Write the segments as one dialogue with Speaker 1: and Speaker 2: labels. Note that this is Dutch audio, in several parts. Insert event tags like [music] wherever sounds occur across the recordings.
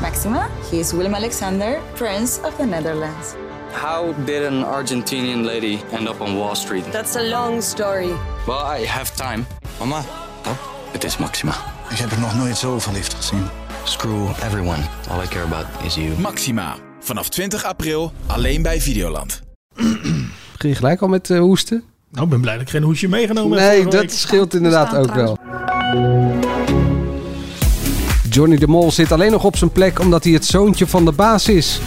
Speaker 1: Maxima. He is Willem Alexander, Prince of the Netherlands.
Speaker 2: How did an Argentinian lady end up on Wall Street?
Speaker 3: That's a long story.
Speaker 2: Well, I have time.
Speaker 4: Mama,
Speaker 2: Het is Maxima.
Speaker 5: Ik heb er nog nooit zo verliefd gezien.
Speaker 2: Screw everyone. All I care about is you.
Speaker 6: Maxima. Vanaf 20 april alleen bij Videoland.
Speaker 7: Begin je gelijk al met eh, hoesten?
Speaker 8: Nou, ik ben blij dat ik geen hoesje meegenomen heb.
Speaker 7: Nee,
Speaker 8: vorige
Speaker 7: dat
Speaker 8: week.
Speaker 7: scheelt inderdaad ook wel. Johnny de Mol zit alleen nog op zijn plek omdat hij het zoontje van de baas is.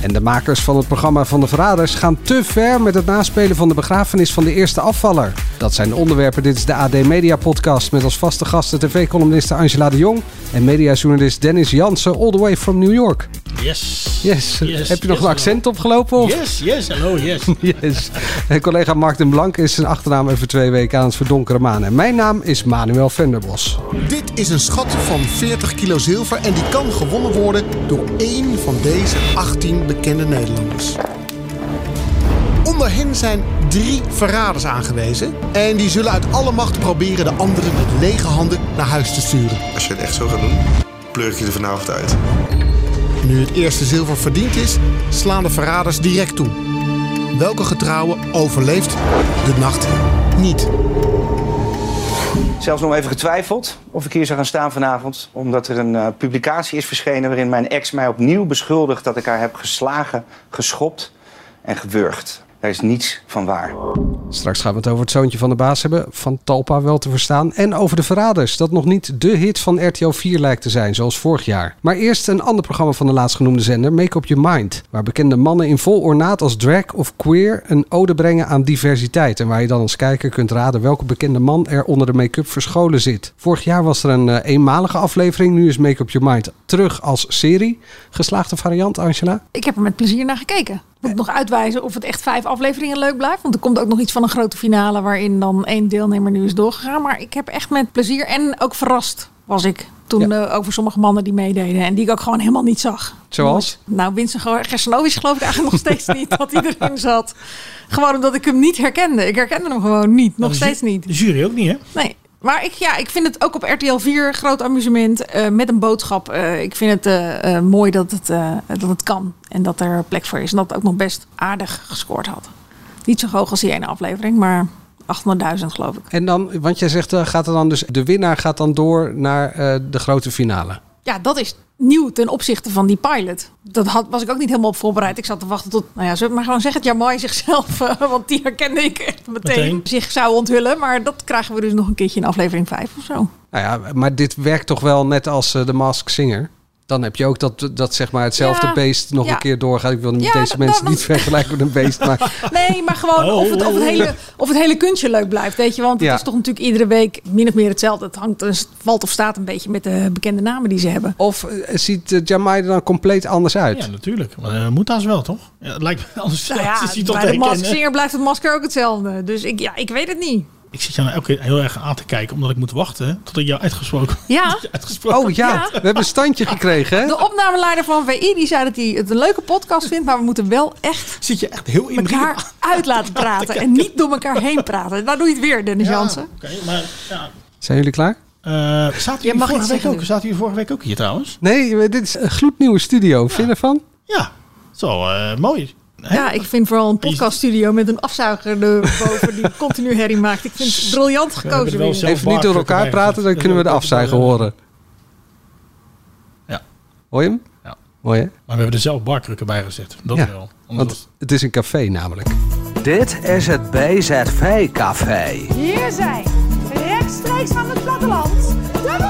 Speaker 7: En de makers van het programma Van de Verraders gaan te ver met het naspelen van de begrafenis van de eerste afvaller. Dat zijn de onderwerpen. Dit is de AD Media Podcast met als vaste gasten tv-columniste Angela de Jong en mediajournalist Dennis Jansen, all the way from New York.
Speaker 8: Yes.
Speaker 7: Yes,
Speaker 8: Yes,
Speaker 7: heb je nog
Speaker 8: yes,
Speaker 7: een accent opgelopen? Of?
Speaker 8: Yes, yes, hello,
Speaker 7: [laughs]
Speaker 8: yes.
Speaker 7: Yes. En collega Mark den Blank is zijn achternaam even twee weken aan het verdonkeren maan. En mijn naam is Manuel Venderbos.
Speaker 9: Dit is een schat van 40 kilo zilver en die kan gewonnen worden door één van deze 18 bekende Nederlanders. Onder hen zijn drie verraders aangewezen en die zullen uit alle macht proberen de anderen met lege handen naar huis te sturen.
Speaker 10: Als je het echt zo gaat doen, pleur ik je er vanavond uit.
Speaker 9: Nu het eerste zilver verdiend is, slaan de verraders direct toe. Welke getrouwe overleeft de nacht niet?
Speaker 4: Zelfs nog even getwijfeld of ik hier zou gaan staan vanavond. Omdat er een eh, publicatie is verschenen waarin mijn ex mij opnieuw beschuldigt dat ik haar heb geslagen, geschopt en gewurgd. Daar is niets van waar.
Speaker 7: Straks gaan we het over het zoontje van de baas hebben, van Talpa wel te verstaan. En over de verraders, dat nog niet de hit van RTL 4 lijkt te zijn, zoals vorig jaar. Maar eerst een ander programma van de laatstgenoemde zender, Make Up Your Mind. Waar bekende mannen in vol ornaat als drag of queer een ode brengen aan diversiteit. En waar je dan als kijker kunt raden welke bekende man er onder de make-up verscholen zit. Vorig jaar was er een eh, eenmalige aflevering, nu is Make Up Your Mind terug als serie. Geslaagde variant, Angela?
Speaker 3: Ik heb er met plezier naar gekeken. Moet ik nog uitwijzen of het echt vijf afleveringen leuk blijft. Want er komt ook nog iets van een grote finale waarin dan één deelnemer nu is doorgegaan. Maar ik heb echt met plezier en ook verrast was ik. Toen eh, over sommige mannen die meededen en die ik ook gewoon helemaal niet zag.
Speaker 7: Zoals?
Speaker 3: Nou, Winston Ger- Gersanovic geloof ik eigenlijk nog steeds niet dat hij erin zat. Gewoon omdat ik hem niet herkende. Ik herkende hem gewoon niet. Nog
Speaker 8: De ju-
Speaker 3: steeds niet.
Speaker 8: De jury ook niet, hè?
Speaker 3: Nee. Maar ik, ja, ik vind het ook op RTL 4 groot amusement eh, met een boodschap. Eh, ik vind het eh, eh, mooi dat het, eh, dat het kan en dat er plek voor is. En dat het ook nog best aardig gescoord had. Niet zo hoog als die ene aflevering, maar 800.000 geloof ik.
Speaker 7: En dan, want jij zegt, eh, gaat er dan dus, de winnaar gaat dan door naar eh, de grote finale.
Speaker 3: Ja, dat is nieuw ten opzichte van die pilot. Dat had, was ik ook niet helemaal op voorbereid. Ik zat te wachten tot, nou ja, zullen we maar gewoon zeggen, Jamai zichzelf, eh, [laughs] want die herkende ik echt meteen,
Speaker 8: Meteen.
Speaker 3: zich zou onthullen. Maar dat krijgen we dus nog een keertje in aflevering 5 of zo.
Speaker 7: Nou ja, maar dit werkt toch wel net als eh, de Mask Singer. Dan heb je ook dat, dat zeg maar hetzelfde
Speaker 3: Ja,
Speaker 7: beest nog
Speaker 3: ja.
Speaker 7: een keer doorgaat. Ik wil niet
Speaker 3: Ja,
Speaker 7: deze
Speaker 3: dat-
Speaker 7: mensen
Speaker 3: dat-
Speaker 7: niet vergelijken met een beest.
Speaker 3: [laughs]
Speaker 7: Maar
Speaker 3: Nee, maar gewoon
Speaker 8: Oh.
Speaker 3: of, het, of, het hele, of het hele kunstje leuk blijft, weet je. Want het
Speaker 7: Ja.
Speaker 3: is toch natuurlijk iedere week min of meer hetzelfde. Het hangt, het valt of staat een beetje met de bekende namen die ze hebben.
Speaker 7: of eh, ziet eh, Jamai er dan compleet anders uit?
Speaker 8: Ja, natuurlijk. Maar eh, moet haast wel, toch? Ja, het lijkt me anders.
Speaker 3: Nou ja,
Speaker 8: is hij toch
Speaker 3: bij de
Speaker 8: herkennen.
Speaker 3: masker blijft het masker ook hetzelfde. Dus ik, ja, ik weet het niet.
Speaker 8: Ik zit jou nou elke keer heel erg aan te kijken, omdat ik moet wachten tot ik jou uitgesproken [laughs]
Speaker 3: Ja,
Speaker 8: uitgesproken.
Speaker 7: Oh ja,
Speaker 3: Ja.
Speaker 7: we hebben een standje gekregen. Hè?
Speaker 3: de opnameleider van VI die zei dat hij het een leuke podcast vindt, maar we moeten wel echt
Speaker 8: Zit je echt heel in
Speaker 3: elkaar uit laten praten en niet door elkaar heen praten. Daar doe je het weer, Dennis Jansen.
Speaker 8: Oké, maar ja.
Speaker 7: Zijn jullie klaar?
Speaker 8: Eh, zaten jullie
Speaker 3: mag
Speaker 8: vorige
Speaker 3: iets
Speaker 8: week
Speaker 3: zeggen
Speaker 8: ook?
Speaker 3: nu.
Speaker 8: Zaten jullie vorige week ook hier trouwens?
Speaker 7: Nee, eh, dit is een gloednieuwe studio. Vind je ervan?
Speaker 8: Ja, zo eh mooi. Hè?
Speaker 3: Ja, ik vind vooral een podcaststudio met een afzuiger erboven die continu herrie maakt. Ik vind het briljant
Speaker 8: hebben er
Speaker 3: gekozen.
Speaker 8: wel
Speaker 3: weer.
Speaker 8: zelf-
Speaker 7: Even niet door
Speaker 8: makkelijk
Speaker 7: elkaar
Speaker 8: erbij.
Speaker 7: praten, dan
Speaker 8: Dat-
Speaker 7: kunnen we de
Speaker 8: dat-
Speaker 7: afzuiger
Speaker 8: dat-
Speaker 7: horen.
Speaker 8: Ja.
Speaker 7: Hoor je hem?
Speaker 8: Ja.
Speaker 7: Mooi hè?
Speaker 8: Maar we hebben er zelf barkrukken bij gezet. Dat
Speaker 7: Ja,
Speaker 8: wel. Anders was-
Speaker 7: Want het is een café namelijk.
Speaker 4: Dit is het BZV Café.
Speaker 3: Hier zijn, rechtstreeks van het platteland, de boeren!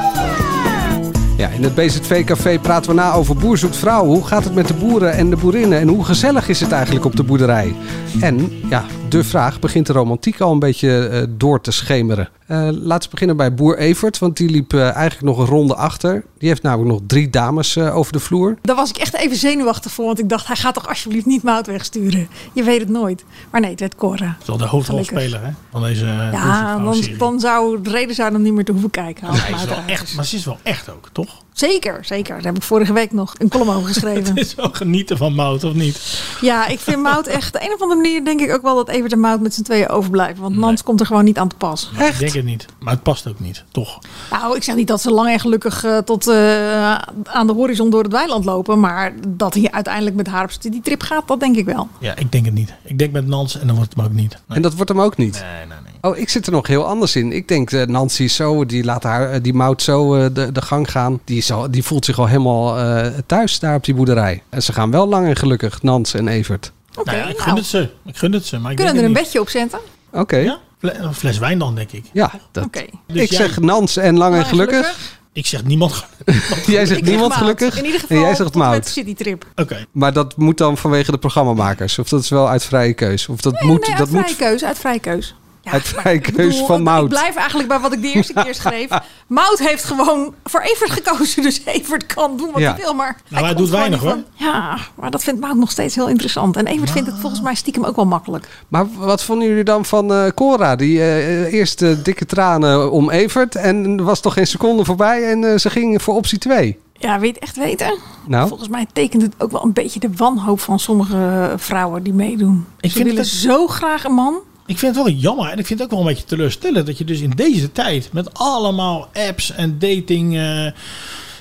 Speaker 7: Ja, in het BZV-café praten we na over Boer zoekt vrouw. Hoe gaat het met de boeren en de boerinnen? En hoe gezellig is het eigenlijk op de boerderij? En ja, de vraag begint de romantiek al een beetje eh, door te schemeren. Eh, laten we beginnen bij boer Evert, want die liep eh, eigenlijk nog een ronde achter. Die heeft namelijk nog drie dames eh, over de vloer.
Speaker 3: Daar was ik echt even zenuwachtig voor, want ik dacht, hij gaat toch alsjeblieft niet Mout wegsturen. Je weet het nooit. Maar nee, het werd Cora.
Speaker 8: Dat is wel de hoofdrolspeler hè, van deze eh,
Speaker 3: Ja,
Speaker 8: Boerzoekvrouw-serie.
Speaker 3: dan, dan zou de reden zijn om niet meer te hoeven kijken. als
Speaker 8: Hij is
Speaker 3: Mout
Speaker 8: wel
Speaker 3: eruit
Speaker 8: echt,
Speaker 3: is.
Speaker 8: maar ze is wel echt ook, toch? [laughs]
Speaker 9: Zeker, zeker. Daar heb ik vorige week nog een column over geschreven.
Speaker 8: Het is wel genieten van mout, of niet?
Speaker 9: Ja, ik vind Mout echt... Op een of andere manier denk ik ook wel dat Evert en Mout met z'n tweeën overblijven. Want Nans komt er gewoon niet aan te pas.
Speaker 8: Maar Ik denk het niet. Maar het past ook niet, toch?
Speaker 9: Nou, ik zeg niet dat ze lang en gelukkig eh, tot eh, aan de horizon door het weiland lopen. Maar dat hij uiteindelijk met haar op die trip gaat, dat denk ik wel.
Speaker 8: Ja, ik denk het niet. Ik denk met Nans en dan wordt het hem ook niet. Nee.
Speaker 7: En dat wordt hem ook niet.
Speaker 8: Nee, nee, nee.
Speaker 7: Oh, ik zit er nog heel anders in. Ik denk, eh, Nancy is zo, die laat haar, eh, die mout zo eh, de, de gang gaan. Die, is al- die voelt zich al helemaal eh, thuis daar op die boerderij. En ze gaan wel lang en gelukkig, Nans en Evert.
Speaker 9: Oké,
Speaker 8: nou ja, ik gun
Speaker 9: nou,
Speaker 8: het ze. Ik gun het ze, maar ik
Speaker 9: kunnen
Speaker 8: denk
Speaker 9: er een
Speaker 8: het
Speaker 9: bedje op zetten.
Speaker 7: Oké.
Speaker 8: niet.
Speaker 7: Ja,
Speaker 8: Ja? Fle- Een fles wijn dan, denk ik.
Speaker 7: dat.
Speaker 9: Oké.
Speaker 8: Dus
Speaker 7: ik
Speaker 8: jij-
Speaker 7: zeg Nans en lang en
Speaker 9: Maar
Speaker 7: gelukkig.
Speaker 8: Ik zeg niemand. [laughs] Oké.
Speaker 7: [laughs] Jij
Speaker 9: Ik
Speaker 7: zegt
Speaker 9: zeg
Speaker 7: niemand
Speaker 9: Mout.
Speaker 7: gelukkig.
Speaker 9: In ieder geval
Speaker 7: en jij zegt
Speaker 9: tot
Speaker 7: Mout.
Speaker 9: met City Trip.
Speaker 8: Nou,
Speaker 7: Maar dat moet dan vanwege de programmamakers. Of dat is wel uit vrije keus. Of dat moet.
Speaker 9: nee,
Speaker 7: dat
Speaker 9: uit vrije
Speaker 7: moet
Speaker 9: keuze, uit vrije keuze. Ja,
Speaker 7: Uit
Speaker 9: maar
Speaker 7: vrije
Speaker 9: ik
Speaker 7: keus van
Speaker 9: ik-
Speaker 7: Mout.
Speaker 9: Ik blijf eigenlijk bij wat ik de
Speaker 7: [laughs]
Speaker 9: eerste keer schreef. Mout heeft gewoon voor Evert gekozen. Dus Evert kan doen wat
Speaker 7: Ja.
Speaker 9: hij wil. Maar
Speaker 8: hij
Speaker 9: komt
Speaker 8: doet
Speaker 9: gewoon
Speaker 8: weinig,
Speaker 9: niet van- Ja, maar dat vindt Mout nog steeds heel interessant. En Evert vindt het volgens mij stiekem ook wel makkelijk.
Speaker 7: Maar wat vonden jullie dan van eh, Cora? Die eh, eerst eh, dikke tranen om Evert. En er was toch geen seconde voorbij. En eh, ze ging voor optie 2.
Speaker 9: Ja, weet echt weten.
Speaker 7: Nou,
Speaker 9: Volgens mij tekent het ook wel een beetje de wanhoop van sommige vrouwen die meedoen.
Speaker 8: Ik
Speaker 9: Ze
Speaker 8: vind
Speaker 9: willen
Speaker 8: het ook-
Speaker 9: zo graag een man.
Speaker 8: Ik vind het wel jammer en ik vind het ook wel een beetje teleurstellend dat je dus in deze tijd met allemaal apps en dating. eh,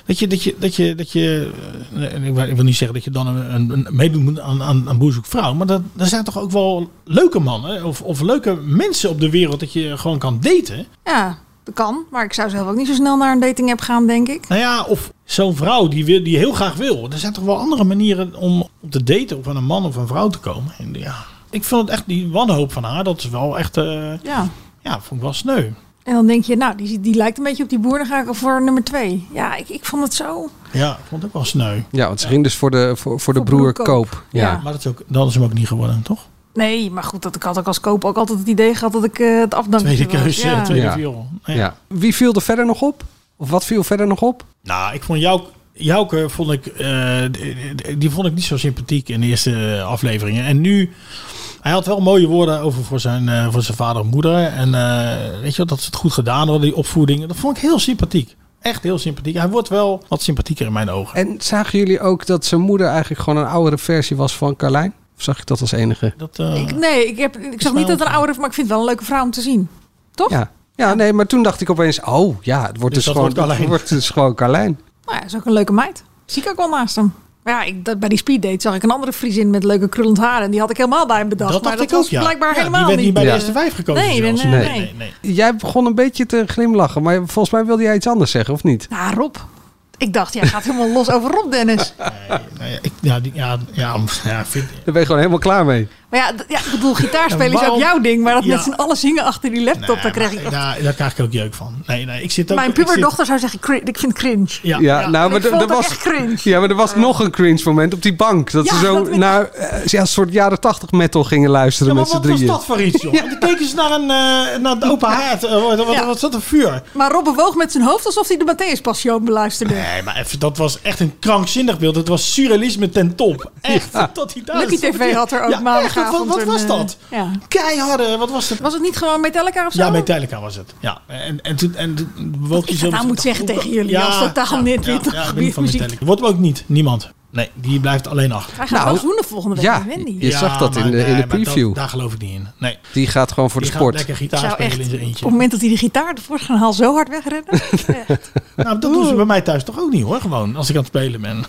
Speaker 8: dat je, dat je, dat je, dat je eh, nee, ik wil- ik wil niet zeggen dat je dan een, een, een meedoet moet aan, aan, aan boerzoek vrouw. Maar dat, er zijn toch ook wel leuke mannen of, of leuke mensen op de wereld dat je gewoon kan daten.
Speaker 9: Ja, dat kan. Maar ik zou zelf ook niet zo snel naar een dating app gaan, denk ik.
Speaker 8: Nou ja, of zo'n vrouw die, wil, die heel graag wil. Er zijn toch wel andere manieren om op te daten of aan een man of een vrouw te komen. En ja, ik vind het echt, die wanhoop van haar, dat is wel echt, eh,
Speaker 9: Ja.
Speaker 8: ja, vond ik wel sneu.
Speaker 9: En dan denk je, nou, die, die lijkt een beetje op die boer, dan ga ik voor nummer twee. Ja, ik, ik vond het zo.
Speaker 8: Ja, ik vond het ook wel sneu.
Speaker 7: ja, want ze ging dus voor de, voor, voor de broer Koop. Ja.
Speaker 9: Ja.
Speaker 8: Maar dat is ook, dat is hem ook niet geworden, toch?
Speaker 9: Nee, maar goed, dat ik had ook als koop ook altijd het idee gehad dat ik eh, het afdankte
Speaker 8: Tweede
Speaker 9: was.
Speaker 8: keuze,
Speaker 9: Ja.
Speaker 8: tweede
Speaker 7: Ja.
Speaker 8: viool.
Speaker 7: Ja.
Speaker 8: Nee.
Speaker 7: Wie viel er verder nog op? Of wat viel verder nog op?
Speaker 8: Nou, ik vond jou... Jouke vond ik, eh, die- die vond ik niet zo sympathiek in de eerste eh, afleveringen. En nu, hij had wel mooie woorden over voor zijn, eh, voor zijn vader en moeder. En eh, weet je wel, dat ze het goed gedaan hadden, die opvoeding. Dat vond ik heel sympathiek. Echt heel sympathiek. Hij wordt wel wat sympathieker in mijn ogen.
Speaker 7: En zagen jullie ook dat zijn moeder eigenlijk gewoon een oudere versie was van Carlijn? Of zag ik dat als enige?
Speaker 8: Dat, eh,
Speaker 9: Ik, nee, ik, heb, ik zag niet dat er een ouder, maar ik vind het wel een leuke vrouw om te zien. Toch?
Speaker 7: Ja. Ja, nee, maar toen dacht ik opeens, oh ja, het wordt dus,
Speaker 8: Dus dat
Speaker 7: gewoon,
Speaker 8: wordt Carlijn.
Speaker 7: het wordt dus gewoon Carlijn.
Speaker 9: Nou ja, is ook een leuke meid. Zie ik ook wel naast hem. Maar ja, ik, dat, bij die speeddate zag ik een andere Friesin met leuke krullend haar. En die had ik helemaal bij hem bedacht.
Speaker 8: dat
Speaker 9: maar
Speaker 8: dacht
Speaker 9: dat
Speaker 8: ik ook,
Speaker 9: was
Speaker 8: ja.
Speaker 9: blijkbaar
Speaker 8: Ja,
Speaker 9: helemaal
Speaker 8: Die werd niet bij
Speaker 7: Ja.
Speaker 8: de eerste vijf gekozen
Speaker 9: Nee,
Speaker 8: zelfs.
Speaker 9: nee, nee,
Speaker 8: nee, nee, nee.
Speaker 7: Jij begon een beetje te glimlachen, maar volgens mij wilde jij iets anders zeggen, of niet?
Speaker 9: Nou, Rob. Ik dacht, jij gaat helemaal los over Rob,
Speaker 8: [laughs]
Speaker 9: Dennis.
Speaker 8: Nou ja, ik, ja, die- ja, ja, ja, vind,
Speaker 7: Daar ben je gewoon helemaal klaar mee.
Speaker 9: Maar ja, d- ja ik bedoel,
Speaker 8: Ja,
Speaker 9: gitaarspelen is ook
Speaker 8: waarom-
Speaker 9: jouw ding. Maar dat
Speaker 8: Ja.
Speaker 9: met z'n allen zingen achter die laptop, daar krijg ik...
Speaker 8: maar- nou, daar krijg ik ook jeuk van. Nee, nee, ik zit ook,
Speaker 9: Mijn
Speaker 8: ik zit-
Speaker 9: puberdochter zou zeggen, cri- ik vind cringe.
Speaker 8: Ja,
Speaker 7: Ja, nou,
Speaker 9: Ik
Speaker 7: maar er-
Speaker 9: vond
Speaker 7: er
Speaker 9: het
Speaker 7: was,
Speaker 9: echt cringe.
Speaker 7: ja, maar er was nog een cringe moment op die bank. Dat
Speaker 9: Ja,
Speaker 7: ze zo
Speaker 9: dat weet ik.
Speaker 7: naar eh, ja, een soort jaren tachtig metal gingen luisteren
Speaker 8: Ja, maar
Speaker 7: met z'n
Speaker 8: wat was
Speaker 7: drieën.
Speaker 8: dat voor iets, joh? Dan keken ze naar een eh, naar de open haard. eh, wat, wat,
Speaker 9: Ja.
Speaker 8: wat zat een vuur?
Speaker 9: Maar Rob bewoog met zijn hoofd alsof hij de Matthäus Passion beluisterde.
Speaker 8: Nee, maar even, dat was echt een krankzinnig beeld. Het was surrealisme ten top. Echt, dat hij daar
Speaker 9: Lucky
Speaker 8: stond.
Speaker 9: TV had er ook
Speaker 8: Ja, echt, wat,
Speaker 9: maandagavond
Speaker 8: wat
Speaker 9: een,
Speaker 8: was
Speaker 9: eh,
Speaker 8: dat?
Speaker 9: ja.
Speaker 8: Keiharde, wat was het?
Speaker 9: Was het niet gewoon Metallica of zo?
Speaker 8: ja, Metallica was het. Ja, en, en toen, en toen bewoog hij
Speaker 9: ik
Speaker 8: zo...
Speaker 9: dat nou moet zeggen tegen jullie, als totaal net weer toch
Speaker 8: ik ben niet van
Speaker 9: muziek.
Speaker 8: Metallica. Wordt hem ook niet, niemand. Nee, die blijft alleen achter.
Speaker 9: Wij gaan
Speaker 7: Nou,
Speaker 9: wel zoenen volgende week
Speaker 7: ja.
Speaker 9: met Wendy.
Speaker 7: Je zag dat in de- in de
Speaker 8: maar dat-
Speaker 7: preview.
Speaker 8: daar geloof ik niet in. Nee,
Speaker 7: Die gaat gewoon voor
Speaker 8: die
Speaker 7: de
Speaker 8: gaat
Speaker 7: sport.
Speaker 8: lekker
Speaker 9: Ik
Speaker 8: gitaar
Speaker 9: zou
Speaker 8: spelen
Speaker 9: echt,
Speaker 8: in
Speaker 9: op
Speaker 8: zijn
Speaker 9: het
Speaker 8: eentje.
Speaker 9: moment dat hij de gitaar ervoor gaan haal zo hard
Speaker 8: [laughs]
Speaker 9: wegrennen. Echt.
Speaker 8: Nou, dat doen ze bij mij thuis toch ook niet hoor. Gewoon als ik aan het spelen
Speaker 9: [laughs]
Speaker 8: ben.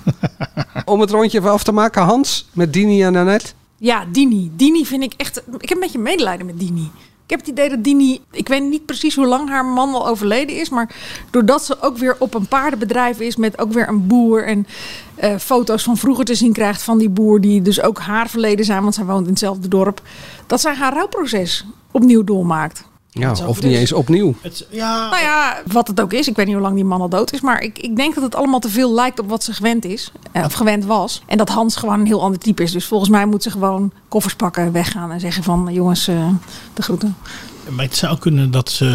Speaker 7: Om het rondje even af te maken, Hans, met Dini en Annette.
Speaker 9: Ja, Dini. Dini vind ik echt... Ik heb een beetje medelijden met Dini. Ik heb het idee dat Dini... Ik weet niet precies hoe lang haar man al overleden is. Maar doordat ze ook weer op een paardenbedrijf is... met ook weer een boer en eh, foto's van vroeger te zien krijgt van die boer... die dus ook haar verleden zijn, want zij woont in hetzelfde dorp... dat zij haar rouwproces opnieuw doormaakt.
Speaker 7: Ja,
Speaker 9: zo
Speaker 7: Nou, of
Speaker 9: dus.
Speaker 7: niet eens opnieuw.
Speaker 8: Het, ja,
Speaker 9: Nou ja, wat het ook is. Ik weet niet hoe lang die man al dood is. Maar ik, ik denk dat het allemaal te veel lijkt op wat ze gewend is. eh, Of gewend was. En dat Hans gewoon een heel ander type is. Dus volgens mij moet ze gewoon koffers pakken, weggaan. En zeggen van, jongens, eh, de groeten.
Speaker 8: maar het zou kunnen dat ze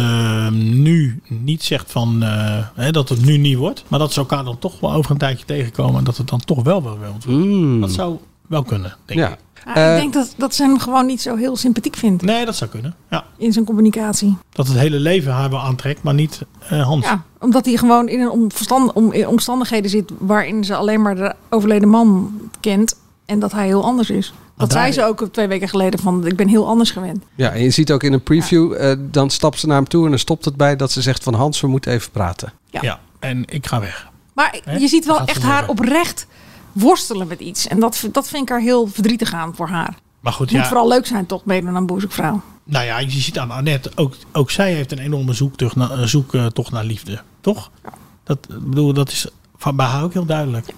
Speaker 8: nu niet zegt van eh, hè, dat het nu niet wordt. Maar dat ze elkaar dan toch wel over een tijdje tegenkomen. En dat het dan toch wel wel wordt.
Speaker 7: Mm.
Speaker 8: Dat zou wel kunnen, denk
Speaker 7: Ja. Eh,
Speaker 8: ik.
Speaker 10: Ah, ik denk dat, dat ze hem gewoon niet zo heel sympathiek vindt
Speaker 8: Nee, dat zou kunnen. Ja.
Speaker 10: in zijn communicatie.
Speaker 8: Dat het hele leven haar wel aantrekt, maar niet eh Hans.
Speaker 10: Ja, omdat hij gewoon in, een omverstand, om, in omstandigheden zit waarin ze alleen maar de overleden man kent. En dat hij heel anders is. Dat
Speaker 8: daar-
Speaker 10: zei ze ook twee weken geleden van ik ben heel anders gewend.
Speaker 7: Ja, en je ziet ook in een preview, eh, dan stapt ze naar hem toe en dan stopt het bij dat ze zegt van Hans, we moeten even praten.
Speaker 10: Ja.
Speaker 8: Ja, en ik ga weg.
Speaker 10: Maar
Speaker 8: Hè?
Speaker 10: je ziet wel
Speaker 8: Dan gaat
Speaker 10: echt
Speaker 8: ze
Speaker 10: haar
Speaker 8: door.
Speaker 10: oprecht worstelen met iets. En dat, dat vind ik er heel verdrietig aan voor haar.
Speaker 8: Maar goed,
Speaker 10: Het moet
Speaker 8: ja,
Speaker 10: vooral leuk zijn toch, meedoen aan boezekvrouw.
Speaker 8: nou ja, je ziet aan Annette, ook, ook zij heeft een enorme zoektocht naar, eh, zoektocht naar liefde. Toch? Dat, ik bedoel, dat is van, bij haar ook heel duidelijk.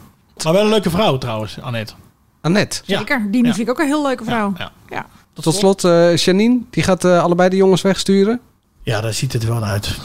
Speaker 8: Maar wel een leuke vrouw trouwens, Annette.
Speaker 7: Annette.
Speaker 8: Ja.
Speaker 10: Zeker, die
Speaker 8: Ja.
Speaker 10: vind ik ook een heel leuke vrouw.
Speaker 8: Ja,
Speaker 10: Ja.
Speaker 7: Tot slot, eh Janine, die gaat eh, allebei de jongens wegsturen.
Speaker 8: Ja, daar ziet het wel uit.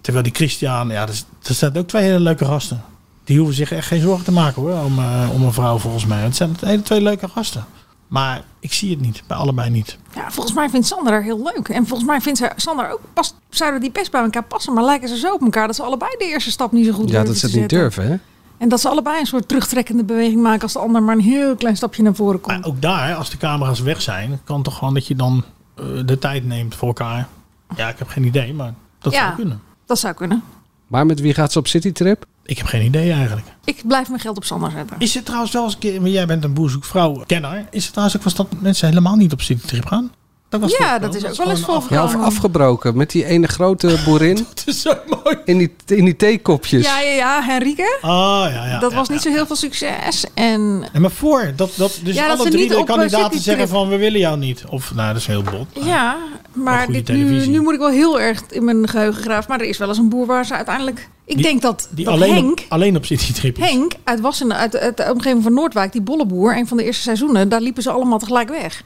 Speaker 8: Terwijl die Christian, ja, er, er staan ook twee hele leuke gasten. Die hoeven zich echt geen zorgen te maken hoor, om, eh, om een vrouw volgens mij. Het zijn hele twee leuke gasten. Maar ik zie het niet, bij allebei niet.
Speaker 10: Ja, volgens mij vindt Sander haar heel leuk. En volgens mij vindt zij- Sander ook, past, zouden die best bij elkaar passen. Maar lijken ze zo op elkaar dat ze allebei de eerste stap niet zo goed
Speaker 7: Ja,
Speaker 10: durven
Speaker 7: dat ze
Speaker 10: te
Speaker 7: het niet
Speaker 10: zetten.
Speaker 7: durven, hè?
Speaker 10: En dat ze allebei een soort terugtrekkende beweging maken als de ander maar een heel klein stapje naar voren komt.
Speaker 8: Maar ook daar, als de camera's weg zijn, kan toch gewoon dat je dan eh, de tijd neemt voor elkaar. Ja, ik heb geen idee, maar dat
Speaker 10: Ja.
Speaker 8: zou kunnen.
Speaker 10: Dat zou kunnen.
Speaker 7: Maar met wie gaat ze op citytrip?
Speaker 8: Ik heb geen idee eigenlijk.
Speaker 10: Ik blijf mijn geld op Sander zetten.
Speaker 8: Is het trouwens wel eens een keer, maar jij bent een boerzoekvrouw kenner. Is het trouwens ook wel eens dat mensen helemaal niet op citytrip gaan? Dat was
Speaker 10: Ja,
Speaker 8: voorkomen.
Speaker 10: dat is ook wel
Speaker 8: gewoon
Speaker 10: eens
Speaker 8: een
Speaker 10: volgens
Speaker 8: [laughs]
Speaker 7: Ja, of afgebroken met die ene
Speaker 10: [laughs]
Speaker 7: grote boerin
Speaker 8: af- Het is zo mooi.
Speaker 7: in die, in die theekopjes.
Speaker 10: Ja, ja, ja, Henrike.
Speaker 8: Ah, ja, ja.
Speaker 10: dat
Speaker 8: ja,
Speaker 10: was
Speaker 8: ja.
Speaker 10: niet zo heel veel succes. En
Speaker 8: Nee, maar voor, dat, dat, dus
Speaker 10: Ja, dat
Speaker 8: alle
Speaker 10: ze
Speaker 8: drie
Speaker 10: niet
Speaker 8: de
Speaker 10: op, eh,
Speaker 8: kandidaten
Speaker 10: citytrip-
Speaker 8: zeggen van we willen jou niet. Of, nou, dat is heel bot. maar-
Speaker 10: ja, maar
Speaker 8: goede
Speaker 10: dit, nu,
Speaker 8: televisie.
Speaker 10: nu moet ik wel heel erg in mijn geheugen graven. Maar er is wel eens een boer waar ze uiteindelijk... Ik
Speaker 8: Die-
Speaker 10: denk dat,
Speaker 8: Die
Speaker 10: dat
Speaker 8: alleen,
Speaker 10: Henk...
Speaker 8: op, alleen op citytrip is.
Speaker 10: Henk uit Wassen, uit, uit de omgeving van Noordwijk, die bolleboer, een van de eerste seizoenen, daar liepen ze allemaal tegelijk weg.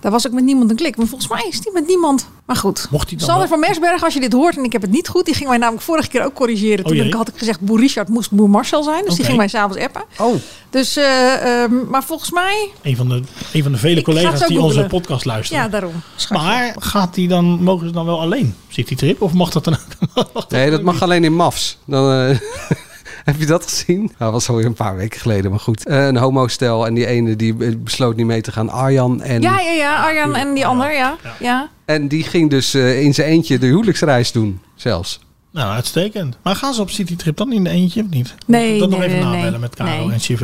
Speaker 10: Daar was ook met niemand een klik. Maar volgens mij is die met niemand. Maar goed.
Speaker 8: Mocht hij dan
Speaker 10: Sander
Speaker 8: wel-
Speaker 10: van Mersberg, als je dit hoort en ik heb het niet goed, die ging mij namelijk vorige keer ook corrigeren.
Speaker 8: Oh
Speaker 10: Toen
Speaker 8: jee.
Speaker 10: ik had ik gezegd, boer Richard moest boer Marcel zijn. Dus die
Speaker 8: Oké.
Speaker 10: ging mij s'avonds appen.
Speaker 7: Oh,
Speaker 10: Dus, eh, ehm, maar volgens mij,
Speaker 8: Een van de, een van de vele
Speaker 10: Ik ga het
Speaker 8: collega's
Speaker 10: zo
Speaker 8: die onze
Speaker 10: googlen.
Speaker 8: podcast luisteren.
Speaker 10: ja, daarom. Schatje.
Speaker 8: maar gaat die dan, mogen ze dan wel alleen citytrip? Of mag dat dan ook? mag
Speaker 7: nee, dat
Speaker 8: ook
Speaker 7: mag
Speaker 8: niet?
Speaker 7: alleen in MAFs. Dan, eh, [laughs] heb je dat gezien? Nou, dat was alweer een paar weken geleden, maar goed. Eh, een homostel en die ene die eh, besloot niet mee te gaan, Arjan. En,
Speaker 10: Ja, ja, ja. Arjan en die ander, ja.
Speaker 8: Ja.
Speaker 10: ja.
Speaker 7: en die ging dus eh, in zijn eentje de huwelijksreis doen, zelfs.
Speaker 8: [laughs] Nou, uitstekend. Maar gaan ze op citytrip dan in de eentje of niet?
Speaker 10: Nee,
Speaker 8: Dat nog
Speaker 10: nee,
Speaker 8: even
Speaker 10: nee,
Speaker 8: nabellen
Speaker 10: nee.
Speaker 8: met Caro
Speaker 10: Nee.
Speaker 8: en CV.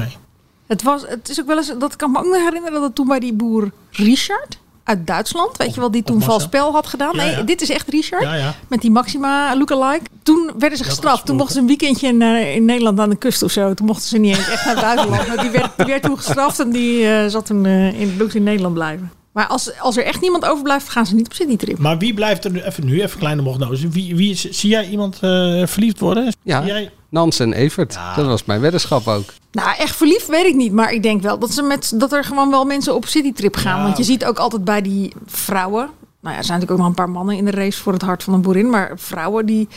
Speaker 10: Het, was, het is ook wel eens, dat kan ik me ook nog herinneren, dat het toen bij die boer Richard uit Duitsland, weet je wel, die
Speaker 8: of
Speaker 10: toen
Speaker 8: Marcel.
Speaker 10: vals spel had gedaan.
Speaker 8: Ja,
Speaker 10: nee,
Speaker 8: ja.
Speaker 10: dit is echt Richard.
Speaker 8: Ja, ja.
Speaker 10: Met die Maxima lookalike. Toen werden ze gestraft.
Speaker 8: afgesproken.
Speaker 10: Toen mochten ze een weekendje in, eh, in Nederland aan de kust of zo. Toen mochten ze niet eens echt naar het buitenland. Maar die, werd, die werd toen gestraft en die eh, zat toen eh, in, moest in Nederland blijven. Maar als, als er echt niemand overblijft, gaan ze niet op citytrip.
Speaker 8: Maar wie blijft er nu, even nu, even kleine prognose. Wie, wie is, zie jij iemand eh, verliefd worden?
Speaker 7: Ja,
Speaker 8: Zie jij,
Speaker 7: Nans en Evert.
Speaker 8: Ja.
Speaker 7: Dat was mijn weddenschap ook.
Speaker 10: Nou, echt verliefd weet ik niet. Maar ik denk wel dat, ze met, dat er gewoon wel mensen op citytrip gaan.
Speaker 8: Ja,
Speaker 10: Want je
Speaker 8: oké.
Speaker 10: ziet ook altijd bij die vrouwen... Nou ja, er zijn natuurlijk ook nog een paar mannen in de race voor het hart van een boerin. Maar vrouwen die...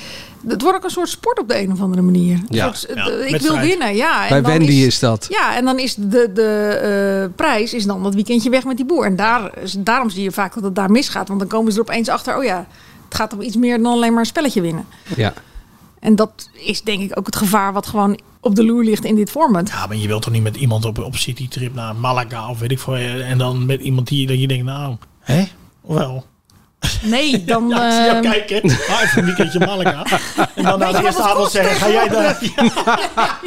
Speaker 10: Het wordt ook een soort sport op de een of andere manier. Een
Speaker 7: Ja.
Speaker 10: soort, eh,
Speaker 8: Ja,
Speaker 10: ik wil
Speaker 8: wedstrijd.
Speaker 10: winnen, ja. En
Speaker 7: Bij
Speaker 10: dan
Speaker 7: Wendy is, dat.
Speaker 10: Ja, en dan is de, de eh, prijs is dan dat weekendje weg met die boer. En daar, is- daarom zie je vaak dat het daar misgaat. Want dan komen ze er opeens achter... Oh ja, het gaat om iets meer dan alleen maar een spelletje winnen.
Speaker 7: Ja.
Speaker 10: En dat is denk ik ook het gevaar wat gewoon op de loer ligt in dit format.
Speaker 8: ja, maar je wilt toch niet met iemand op, op citytrip naar Malaga of weet ik veel. eh, En dan met iemand die dat je denkt, nou, hè? Of wel?
Speaker 10: Nee, dan.
Speaker 8: [laughs] Ja, ik zie jou
Speaker 10: ehm,
Speaker 8: kijken. Ah, even een weekendje Malaga. En dan na
Speaker 10: Weet
Speaker 8: de
Speaker 10: je wat
Speaker 8: eerste
Speaker 10: het
Speaker 8: avond
Speaker 10: kost
Speaker 8: zeggen, ga jij daar? Ja,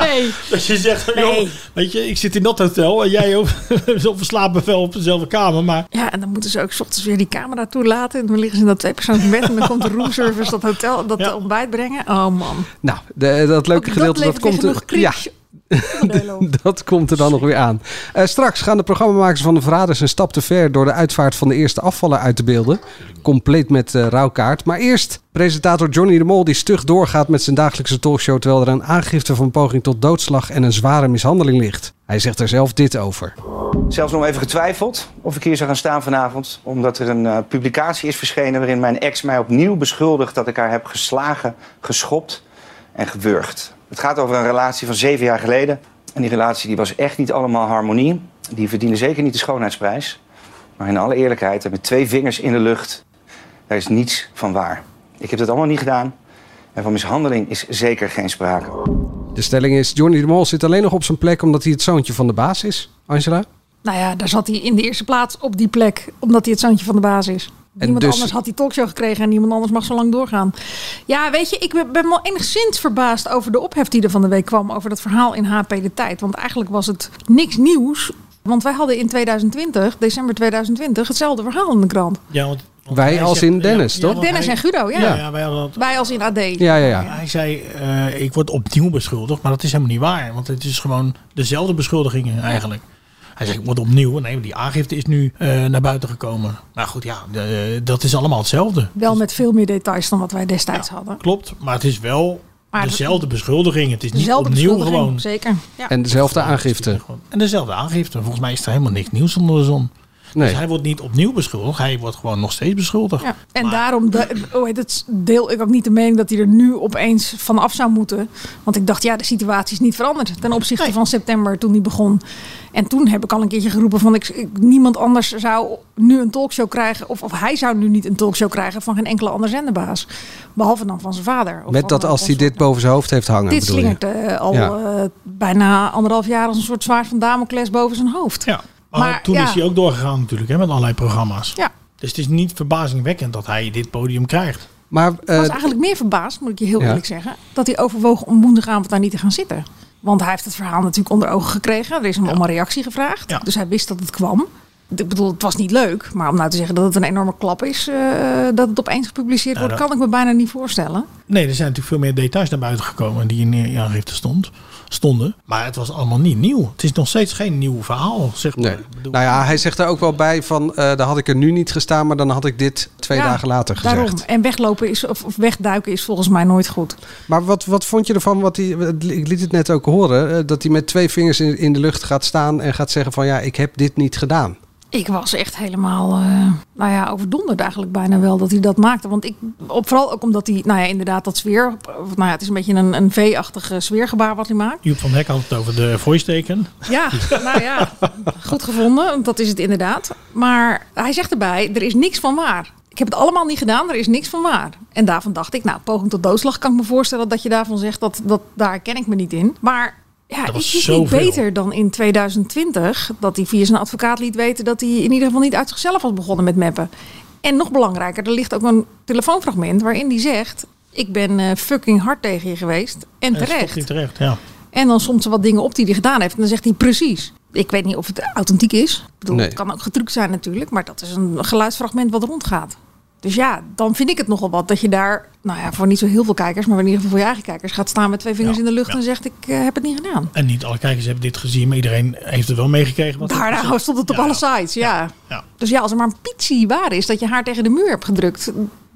Speaker 10: nee.
Speaker 8: [laughs] dat je zegt,
Speaker 10: Nee.
Speaker 8: joh, weet je, ik zit in dat hotel en jij [laughs] ook. We slapen wel op dezelfde kamer, maar...
Speaker 10: Ja, en dan moeten ze ook 's ochtends dus weer die camera toelaten. En dan liggen ze in dat tweepersoonlijk bed. En dan komt de roomservice dat hotel dat
Speaker 8: Ja.
Speaker 10: ontbijt brengen. Oh man.
Speaker 7: Nou, de- dat leuke gedeelte dat, komt er. Ja, [laughs] dat komt er dan nog weer aan. Eh, straks gaan de programmamakers van de Verraders een stap te ver door de uitvaart van de eerste afvallen uit te beelden. Compleet met eh, rouwkaart. Maar eerst presentator Johnny de Mol die stug doorgaat met zijn dagelijkse talkshow terwijl er een aangifte van poging tot doodslag en een zware mishandeling ligt. Hij zegt er zelf dit over.
Speaker 9: Zelfs nog even getwijfeld of ik hier zou gaan staan vanavond. Omdat er een eh, publicatie is verschenen waarin mijn ex mij opnieuw beschuldigt dat ik haar heb geslagen, geschopt en gewurgd. Het gaat over een relatie van zeven jaar geleden. En die relatie die was echt niet allemaal harmonie. Die verdiende zeker niet de schoonheidsprijs. Maar in alle eerlijkheid en met twee vingers in de lucht, daar is niets van waar. Ik heb dat allemaal niet gedaan. En van mishandeling is zeker geen sprake.
Speaker 7: De stelling is: Johnny de Mol zit alleen nog op zijn plek omdat hij het zoontje van de baas is. Angela?
Speaker 9: Nou ja, daar zat hij in de eerste plaats op die plek, omdat hij het zoontje van de baas is. Niemand
Speaker 7: dus-
Speaker 9: anders had die talkshow gekregen en niemand anders mag zo lang doorgaan. Ja, weet je, ik ben- ben wel enigszins verbaasd over de ophef die er van de week kwam over dat verhaal in HP de Tijd. Want eigenlijk was het niks nieuws. Want wij hadden in 2020, december 2020, hetzelfde verhaal in de krant.
Speaker 8: Ja, want, want
Speaker 7: Wij
Speaker 8: hij
Speaker 7: als
Speaker 8: zegt-
Speaker 7: in Dennis, toch?
Speaker 8: want
Speaker 9: Dennis
Speaker 8: hij-
Speaker 9: en Guido, ja.
Speaker 8: Ja, ja, wij hadden dat
Speaker 9: Wij als in AD.
Speaker 7: Ja, ja, ja.
Speaker 8: Hij zei, eh, ik word opnieuw beschuldigd. Maar dat is helemaal niet waar. Want het is gewoon dezelfde beschuldigingen eigenlijk. Hij zegt, ik word opnieuw. Nee, die aangifte is nu eh, naar buiten gekomen. Nou goed, ja, de- dat is allemaal hetzelfde.
Speaker 9: Wel met veel meer details dan wat wij destijds hadden.
Speaker 8: Klopt, maar het is wel
Speaker 9: Maar dat-
Speaker 8: dezelfde beschuldiging. Het is niet
Speaker 9: Dezelfde
Speaker 8: opnieuw
Speaker 9: beschuldiging,
Speaker 8: gewoon.
Speaker 9: Zeker. Ja.
Speaker 7: En dezelfde aangifte.
Speaker 8: En dezelfde aangifte. Volgens mij is er helemaal niks nieuws onder de zon.
Speaker 7: Nee.
Speaker 8: Dus hij wordt niet opnieuw beschuldigd. Hij wordt gewoon nog steeds beschuldigd.
Speaker 9: Ja. En daarom
Speaker 10: Eh,
Speaker 9: de,
Speaker 10: oh,
Speaker 9: hoe heet het, deel ik ook niet de mening dat hij er nu opeens vanaf zou moeten. Want ik dacht, ja, de situatie is niet veranderd ten opzichte van september toen die begon. En toen heb ik al een keertje geroepen van ik, ik- niemand anders zou nu een talkshow krijgen. Of, of hij zou nu niet een talkshow krijgen van geen enkele andere zenderbaas. Behalve dan van zijn vader. Of
Speaker 7: Met
Speaker 9: van-
Speaker 7: dat als
Speaker 9: van
Speaker 7: hij
Speaker 9: zijn-
Speaker 7: dit boven zijn hoofd heeft hangen,
Speaker 9: Dit
Speaker 7: bedoel je?
Speaker 9: slingert eh, al
Speaker 7: Ja.
Speaker 9: eh, bijna anderhalf jaar als een soort zwaard van Damocles boven zijn hoofd.
Speaker 8: Ja, maar,
Speaker 9: Maar
Speaker 8: toen
Speaker 9: ja.
Speaker 8: is hij ook doorgegaan natuurlijk hè, met allerlei programma's.
Speaker 9: Ja.
Speaker 8: Dus het is niet verbazingwekkend dat hij dit podium krijgt. Nou,
Speaker 7: Maar
Speaker 9: Ik
Speaker 7: eh,
Speaker 9: was eigenlijk meer verbaasd, moet ik je heel
Speaker 7: Ja.
Speaker 9: eerlijk zeggen, dat hij overwoog om woensdagavond daar niet te gaan zitten. Want hij heeft het verhaal natuurlijk onder ogen gekregen. Er is hem om een reactie gevraagd.
Speaker 8: Ja.
Speaker 9: Dus hij wist dat het kwam. Ik bedoel, het was niet leuk. Maar om nou te zeggen dat het een enorme klap is, eh, dat het opeens gepubliceerd
Speaker 8: Nou,
Speaker 9: wordt,
Speaker 8: dat-
Speaker 9: kan ik me bijna niet voorstellen.
Speaker 8: Nee, er zijn natuurlijk veel meer details naar buiten gekomen die in de aangifte stond, stonden. Maar het was allemaal niet nieuw. Het is nog steeds geen nieuw verhaal, zeg maar.
Speaker 7: nee.
Speaker 8: Ik bedoel,
Speaker 7: Nou ja, hij zegt er ook wel bij van, eh daar had ik er nu niet gestaan, maar dan had ik dit twee
Speaker 9: Ja,
Speaker 7: dagen later gezegd.
Speaker 9: Daarom. En weglopen is, of, of wegduiken is volgens mij nooit goed.
Speaker 7: Maar wat, wat vond je ervan? Wat hij, ik liet het net ook horen. eh, Dat hij met twee vingers in, in de lucht gaat staan en gaat zeggen van ja, ik heb dit niet gedaan.
Speaker 9: Ik was echt helemaal, eh, nou ja, overdonderd eigenlijk bijna wel dat hij dat maakte. Want ik, op, vooral ook omdat hij, nou ja, inderdaad dat sfeer, of, nou ja, het is een beetje een, een V-achtig eh, sfeergebaar wat hij maakt.
Speaker 8: Joep van Hek had het over de voice teken.
Speaker 9: Ja, nou ja, goed gevonden, want dat is het inderdaad. Maar hij zegt erbij, er is niks van waar. Ik heb het allemaal niet gedaan, er is niks van waar. En daarvan dacht ik, nou, poging tot doodslag kan ik me voorstellen dat je daarvan zegt, dat, dat, daar ken ik me niet in. Maar ja,
Speaker 8: Dat
Speaker 9: ik
Speaker 8: was
Speaker 9: is niet
Speaker 8: zoveel.
Speaker 9: beter dan in 2020 dat hij via zijn advocaat liet weten dat hij in ieder geval niet uit zichzelf was begonnen met meppen. En nog belangrijker, er ligt ook een telefoonfragment waarin hij zegt, ik ben eh, fucking hard tegen je geweest. En
Speaker 8: En stond
Speaker 9: terecht.
Speaker 8: hij terecht, ja.
Speaker 9: En dan somt ze wat dingen op die hij gedaan heeft. En dan zegt hij precies. Ik weet niet of het authentiek is. Ik bedoel,
Speaker 7: Nee.
Speaker 9: Het kan ook getrukt zijn natuurlijk. Maar dat is een geluidsfragment wat rondgaat. Dus ja, dan vind ik het nogal wat dat je daar, nou ja, voor niet zo heel veel kijkers, maar in ieder geval voor je eigen kijkers, gaat staan met twee vingers
Speaker 8: Ja,
Speaker 9: in de lucht
Speaker 8: ja.
Speaker 9: en zegt: Ik eh, heb het niet gedaan.
Speaker 8: En niet alle kijkers hebben dit gezien, maar iedereen heeft het wel meegekregen. wat er
Speaker 9: Daar
Speaker 8: precies-
Speaker 9: nou, stond het op
Speaker 8: Ja,
Speaker 9: alle
Speaker 8: ja.
Speaker 9: sites, ja.
Speaker 8: Ja.
Speaker 9: Dus ja, als er maar een pitsie waar is dat je haar tegen de muur hebt gedrukt,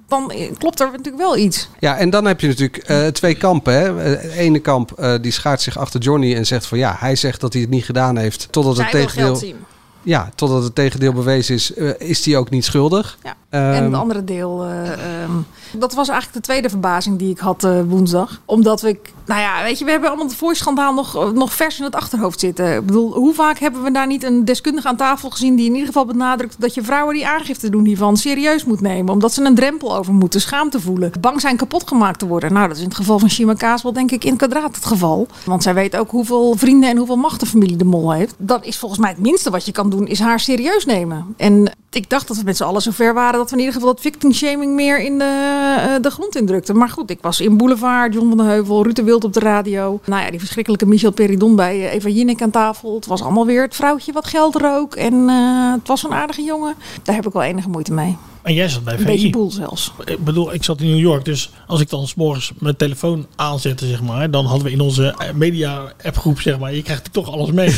Speaker 9: dan eh, klopt er natuurlijk wel iets.
Speaker 7: Ja, en dan heb je natuurlijk eh, twee kampen. Hè. Eh, Het ene kamp eh, die schaart zich achter Johnny en zegt van ja, hij zegt dat hij het niet gedaan heeft. Totdat,
Speaker 9: Zij
Speaker 7: het
Speaker 9: wil geld
Speaker 7: tegendeel,
Speaker 9: zien.
Speaker 7: ja, totdat het tegendeel bewezen is, eh, is hij ook niet schuldig.
Speaker 9: Ja.
Speaker 7: Ehm,
Speaker 9: en het
Speaker 7: [laughs]
Speaker 9: andere deel, eh, ehm, dat was eigenlijk de tweede verbazing die ik had eh, woensdag. Omdat ik, nou ja, weet je, we hebben allemaal het voorschandaal nog, nog vers in het achterhoofd zitten. Ik bedoel, hoe vaak hebben we daar niet een deskundige aan tafel gezien die in ieder geval benadrukt dat je vrouwen die aangifte doen hiervan serieus moet nemen. Omdat ze een drempel over moeten, schaamte voelen, bang zijn kapot gemaakt te worden. Nou, dat is in het geval van Shima Kaas wel denk ik in het kwadraat het geval. Want zij weet ook hoeveel vrienden en hoeveel macht de familie de mol heeft. Dat is volgens mij het minste wat je kan doen, is haar serieus nemen. En ik dacht dat we met z'n allen zover waren dat we in ieder geval dat victim shaming meer in de, eh, de grond indrukten. Maar goed, ik was in Boulevard, John van den Heuvel, Ruud de Wild op de radio. Nou ja, die verschrikkelijke Michel Peridon bij eh, Eva Jinek aan tafel. Het was allemaal weer het vrouwtje wat geld rook. En eh, het was een aardige jongen. Daar heb ik wel enige moeite mee.
Speaker 8: En jij zat bij
Speaker 9: Een beetje
Speaker 8: VI.
Speaker 9: boel zelfs.
Speaker 8: Ik bedoel, ik zat in New York, dus als ik dan s'morgens mijn telefoon aanzette, zeg maar, dan hadden we in onze eh, media-appgroep, zeg maar, je krijgt toch alles
Speaker 9: [laughs]
Speaker 8: mee.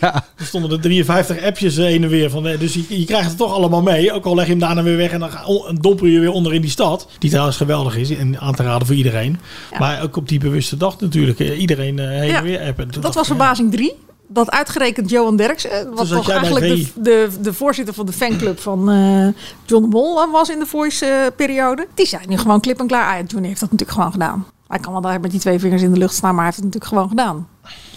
Speaker 7: ja,
Speaker 8: Er stonden er 53 appjes heen en weer van, eh, dus je, je krijgt het toch allemaal mee. Ook al leg je hem daarna weer weg en dan ga- on- en domper je weer onder in die stad, die trouwens geweldig is en aan te raden voor iedereen.
Speaker 9: Ja.
Speaker 8: Maar ook op die bewuste dag natuurlijk, eh, iedereen eh, heen
Speaker 9: Ja,
Speaker 8: en weer appen. Toen
Speaker 9: Dat
Speaker 8: dacht
Speaker 9: was
Speaker 8: ik, ja,
Speaker 9: verbazing drie. Dat uitgerekend Johan Derksen, wat
Speaker 8: zat
Speaker 9: toch
Speaker 8: jij bij
Speaker 9: eigenlijk de,
Speaker 8: VI.
Speaker 9: de, de voorzitter van de fanclub van eh, John de Mol was in de Voice-periode. die zei nu gewoon klip en klaar. Ah, ja, Johnny heeft dat natuurlijk gewoon gedaan. Hij kan wel daar met die twee vingers in de lucht staan, maar hij heeft het natuurlijk gewoon gedaan.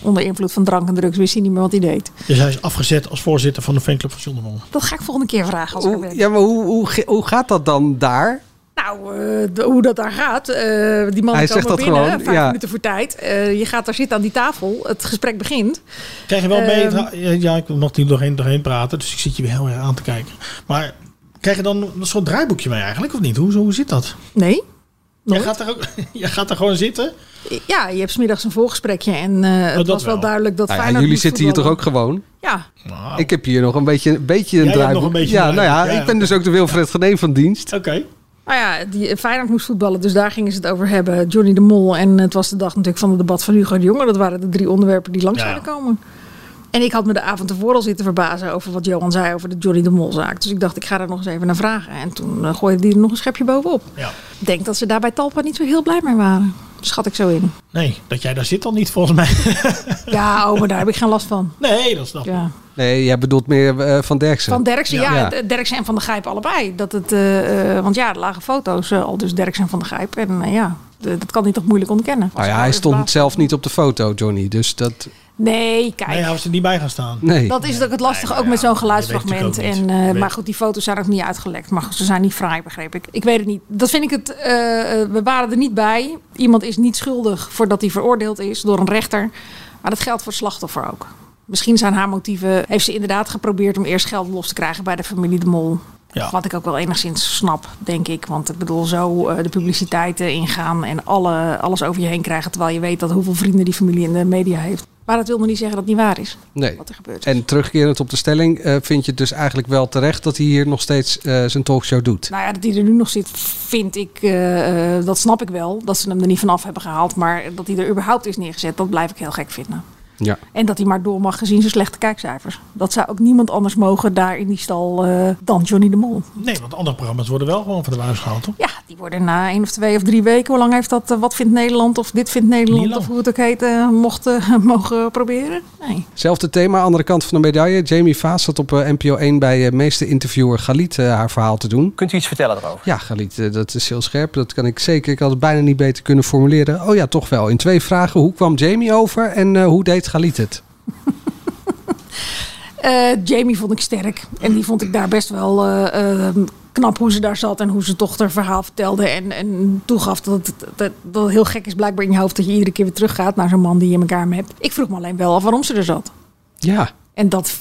Speaker 9: Onder invloed van drank en drugs wist hij niet meer wat hij deed.
Speaker 8: Dus hij is afgezet als voorzitter van de fanclub van John de Mol.
Speaker 9: Dat ga ik volgende keer vragen. Als ik er
Speaker 7: hoe,
Speaker 9: ben.
Speaker 7: ja maar hoe, hoe, ge- hoe gaat dat dan daar?
Speaker 9: Nou,
Speaker 10: Nou, eh, de- hoe dat daar gaat. eh, die man
Speaker 7: Hij
Speaker 10: komen
Speaker 7: zegt dat
Speaker 10: binnen,
Speaker 7: gewoon,
Speaker 10: vijf
Speaker 7: ja.
Speaker 10: minuten voor tijd. Eh, je gaat daar zitten aan die tafel. Het gesprek begint.
Speaker 8: Krijg je wel mee?
Speaker 10: Ehm.
Speaker 8: het- ja, ja, ik mocht hier doorheen, doorheen praten, dus ik zit je weer heel erg aan te kijken. Maar krijg je dan een soort draaiboekje mee eigenlijk, of niet? Hoe, hoe zit dat?
Speaker 10: Nee.
Speaker 8: Jij
Speaker 10: Nooit.
Speaker 8: gaat, daar ook, [laughs] jij gaat daar gewoon zitten?
Speaker 10: Ja, je hebt 's middags een voorgesprekje. En eh, het
Speaker 8: dat
Speaker 10: was wel
Speaker 8: wel.
Speaker 10: duidelijk dat
Speaker 7: Nou ja,
Speaker 10: Feyenoord
Speaker 7: jullie
Speaker 10: moest
Speaker 7: zitten hier toch ook
Speaker 10: voetballen.
Speaker 7: gewoon?
Speaker 10: Ja,
Speaker 8: Nou,
Speaker 7: Ik heb hier nog een beetje, een beetje een
Speaker 8: Jij hebt
Speaker 7: draaiboek.
Speaker 8: nog een beetje
Speaker 7: ja,
Speaker 8: een
Speaker 7: nou ja,
Speaker 8: draaiboek, ja,
Speaker 7: ik ben dus ook de Wilfred Geneen van dienst.
Speaker 8: Oké.
Speaker 10: Nou ja, die Feyenoord moest voetballen, dus daar gingen ze het over hebben. Johnny de Mol en het was de dag natuurlijk van het debat van Hugo de Jonge. Dat waren de drie onderwerpen die langs
Speaker 8: Ja.
Speaker 10: zouden komen. En ik had me de avond ervoor al zitten verbazen over wat Johan zei over de Johnny de Mol zaak. Dus ik dacht, ik ga daar nog eens even naar vragen. En toen eh, gooide die er nog een schepje bovenop.
Speaker 8: Ja.
Speaker 10: Ik denk dat ze daar bij Talpa niet zo heel blij mee waren. Schat ik zo in.
Speaker 8: Nee, dat jij daar zit al niet volgens mij. [laughs]
Speaker 10: Ja, oh, maar daar heb ik geen last van.
Speaker 8: Nee, dat snap ik.
Speaker 10: Ja.
Speaker 7: Nee, jij bedoelt meer eh, Van Derksen.
Speaker 10: Van Derksen, ja.
Speaker 7: Ja.
Speaker 10: D- Derksen en Van de Gijp allebei. Dat het, eh, eh, want ja, er lagen foto's eh, al dus Derksen en Van de Gijp. En eh, ja, d- dat kan hij toch moeilijk ontkennen.
Speaker 7: nou ja, hij stond zelf niet op de foto, Johnny. Dus dat.
Speaker 10: Nee, kijk.
Speaker 8: Nee, hij was er niet bij gaan staan.
Speaker 7: Nee.
Speaker 10: Dat is ook het lastige,
Speaker 8: Nee,
Speaker 10: ook
Speaker 8: maar
Speaker 10: met
Speaker 8: ja,
Speaker 10: zo'n
Speaker 8: je weet natuurlijk
Speaker 10: geluidsfragment.
Speaker 8: ook
Speaker 10: En,
Speaker 8: niet.
Speaker 10: eh,
Speaker 8: Je weet-
Speaker 10: maar goed, die foto's zijn ook niet uitgelekt. Maar goed, ze zijn niet vrij, begreep ik. Ik weet het niet. Dat vind ik het... eh, eh, we waren er niet bij. Iemand is niet schuldig voordat hij veroordeeld is door een rechter. Maar dat geldt voor het slachtoffer ook. Misschien zijn haar motieven... Heeft ze inderdaad geprobeerd om eerst geld los te krijgen bij de familie De Mol.
Speaker 8: Ja.
Speaker 10: Wat ik ook wel enigszins snap, denk ik. Want ik bedoel, zo eh, de publiciteiten ingaan en alle, alles over je heen krijgen. Terwijl je weet dat hoeveel vrienden die familie in de media heeft. Maar dat wil nog niet zeggen dat het niet waar is.
Speaker 7: nee.
Speaker 10: Wat er gebeurt.
Speaker 7: En terugkerend op de stelling, eh, vind je het dus eigenlijk wel terecht dat hij hier nog steeds eh, zijn talkshow doet?
Speaker 10: Nou ja, dat hij er nu nog zit, vind ik, eh, eh, dat snap ik wel. Dat ze hem er niet vanaf hebben gehaald. Maar dat hij er überhaupt is neergezet, dat blijf ik heel gek vinden.
Speaker 7: Ja.
Speaker 10: En dat hij maar door mag gezien zijn slechte kijkcijfers. Dat zou ook niemand anders mogen daar in die stal eh, dan Johnny de Mol.
Speaker 8: Nee, want andere programma's worden wel gewoon van de buis gehaald, toch?
Speaker 10: Ja, die worden na één of twee of drie weken, hoe lang heeft dat, eh, wat vindt Nederland of dit vindt
Speaker 8: Niet
Speaker 10: Nederland
Speaker 8: lang.
Speaker 10: of hoe het ook heet, eh, mocht, eh, [laughs] mogen proberen? Nee.
Speaker 7: Zelfde thema, andere kant van de medaille. Jamie Vaas zat op eh, NPO 1 bij eh, meeste interviewer Galit eh, haar verhaal te doen.
Speaker 11: Kunt u iets vertellen daarover?
Speaker 7: Ja, Galit, eh, dat is heel scherp. Dat kan ik zeker. Ik had het bijna niet beter kunnen formuleren. Oh ja, toch wel. In twee vragen. Hoe kwam Jamie over en eh, hoe deed Galit het?
Speaker 10: Eh, Jamie vond ik sterk. En die vond ik daar best wel eh, eh, knap hoe ze daar zat en hoe ze toch haar verhaal vertelde. En, en toegaf dat het, dat, dat het heel gek is blijkbaar in je hoofd dat je iedere keer weer teruggaat naar zo'n man die je in elkaar hebt. Ik vroeg me alleen wel af waarom ze er zat.
Speaker 7: Ja,
Speaker 10: En dat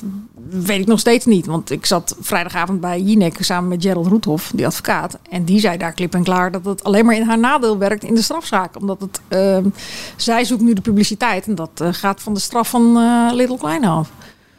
Speaker 10: weet ik nog steeds niet. Want ik zat vrijdagavond bij Jinek samen met Gerald Roethoff, die advocaat. En die zei daar klip en klaar dat het alleen maar in haar nadeel werkt in de strafzaak. Omdat het, ehm, zij zoekt nu de publiciteit. En dat eh, gaat van de straf van eh Little Kleine af.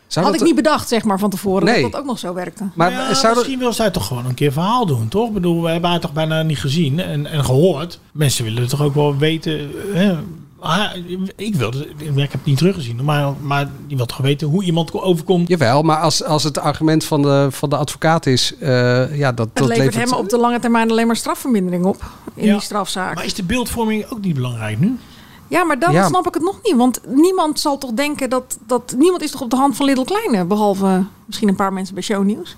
Speaker 7: Zou
Speaker 10: Had
Speaker 7: dat-
Speaker 10: ik niet bedacht, zeg maar, van tevoren
Speaker 7: Nee.
Speaker 10: dat dat ook nog zo werkte.
Speaker 7: Maar eh,
Speaker 8: ja,
Speaker 7: zou dat...
Speaker 8: misschien wil zij toch gewoon een keer verhaal doen, toch? Ik bedoel, we hebben haar toch bijna niet gezien en, en gehoord. Mensen willen toch ook wel weten... Hè? Ah, ik wilde, ik heb het niet teruggezien, maar, maar je wilt toch weten hoe iemand overkomt.
Speaker 7: Jawel, maar als, als het argument van de, van de advocaat is... eh, ja, dat,
Speaker 10: Het
Speaker 7: dat
Speaker 10: levert, hem op de lange termijn alleen maar strafvermindering op in
Speaker 8: Ja.
Speaker 10: die strafzaak.
Speaker 8: Maar is de beeldvorming ook niet belangrijk nu?
Speaker 10: Ja, maar dan
Speaker 7: Ja.
Speaker 10: snap ik het nog niet. Want niemand zal toch denken dat, dat... Niemand is toch op de hand van Little Kleine? Behalve misschien een paar mensen bij Shownieuws. [laughs]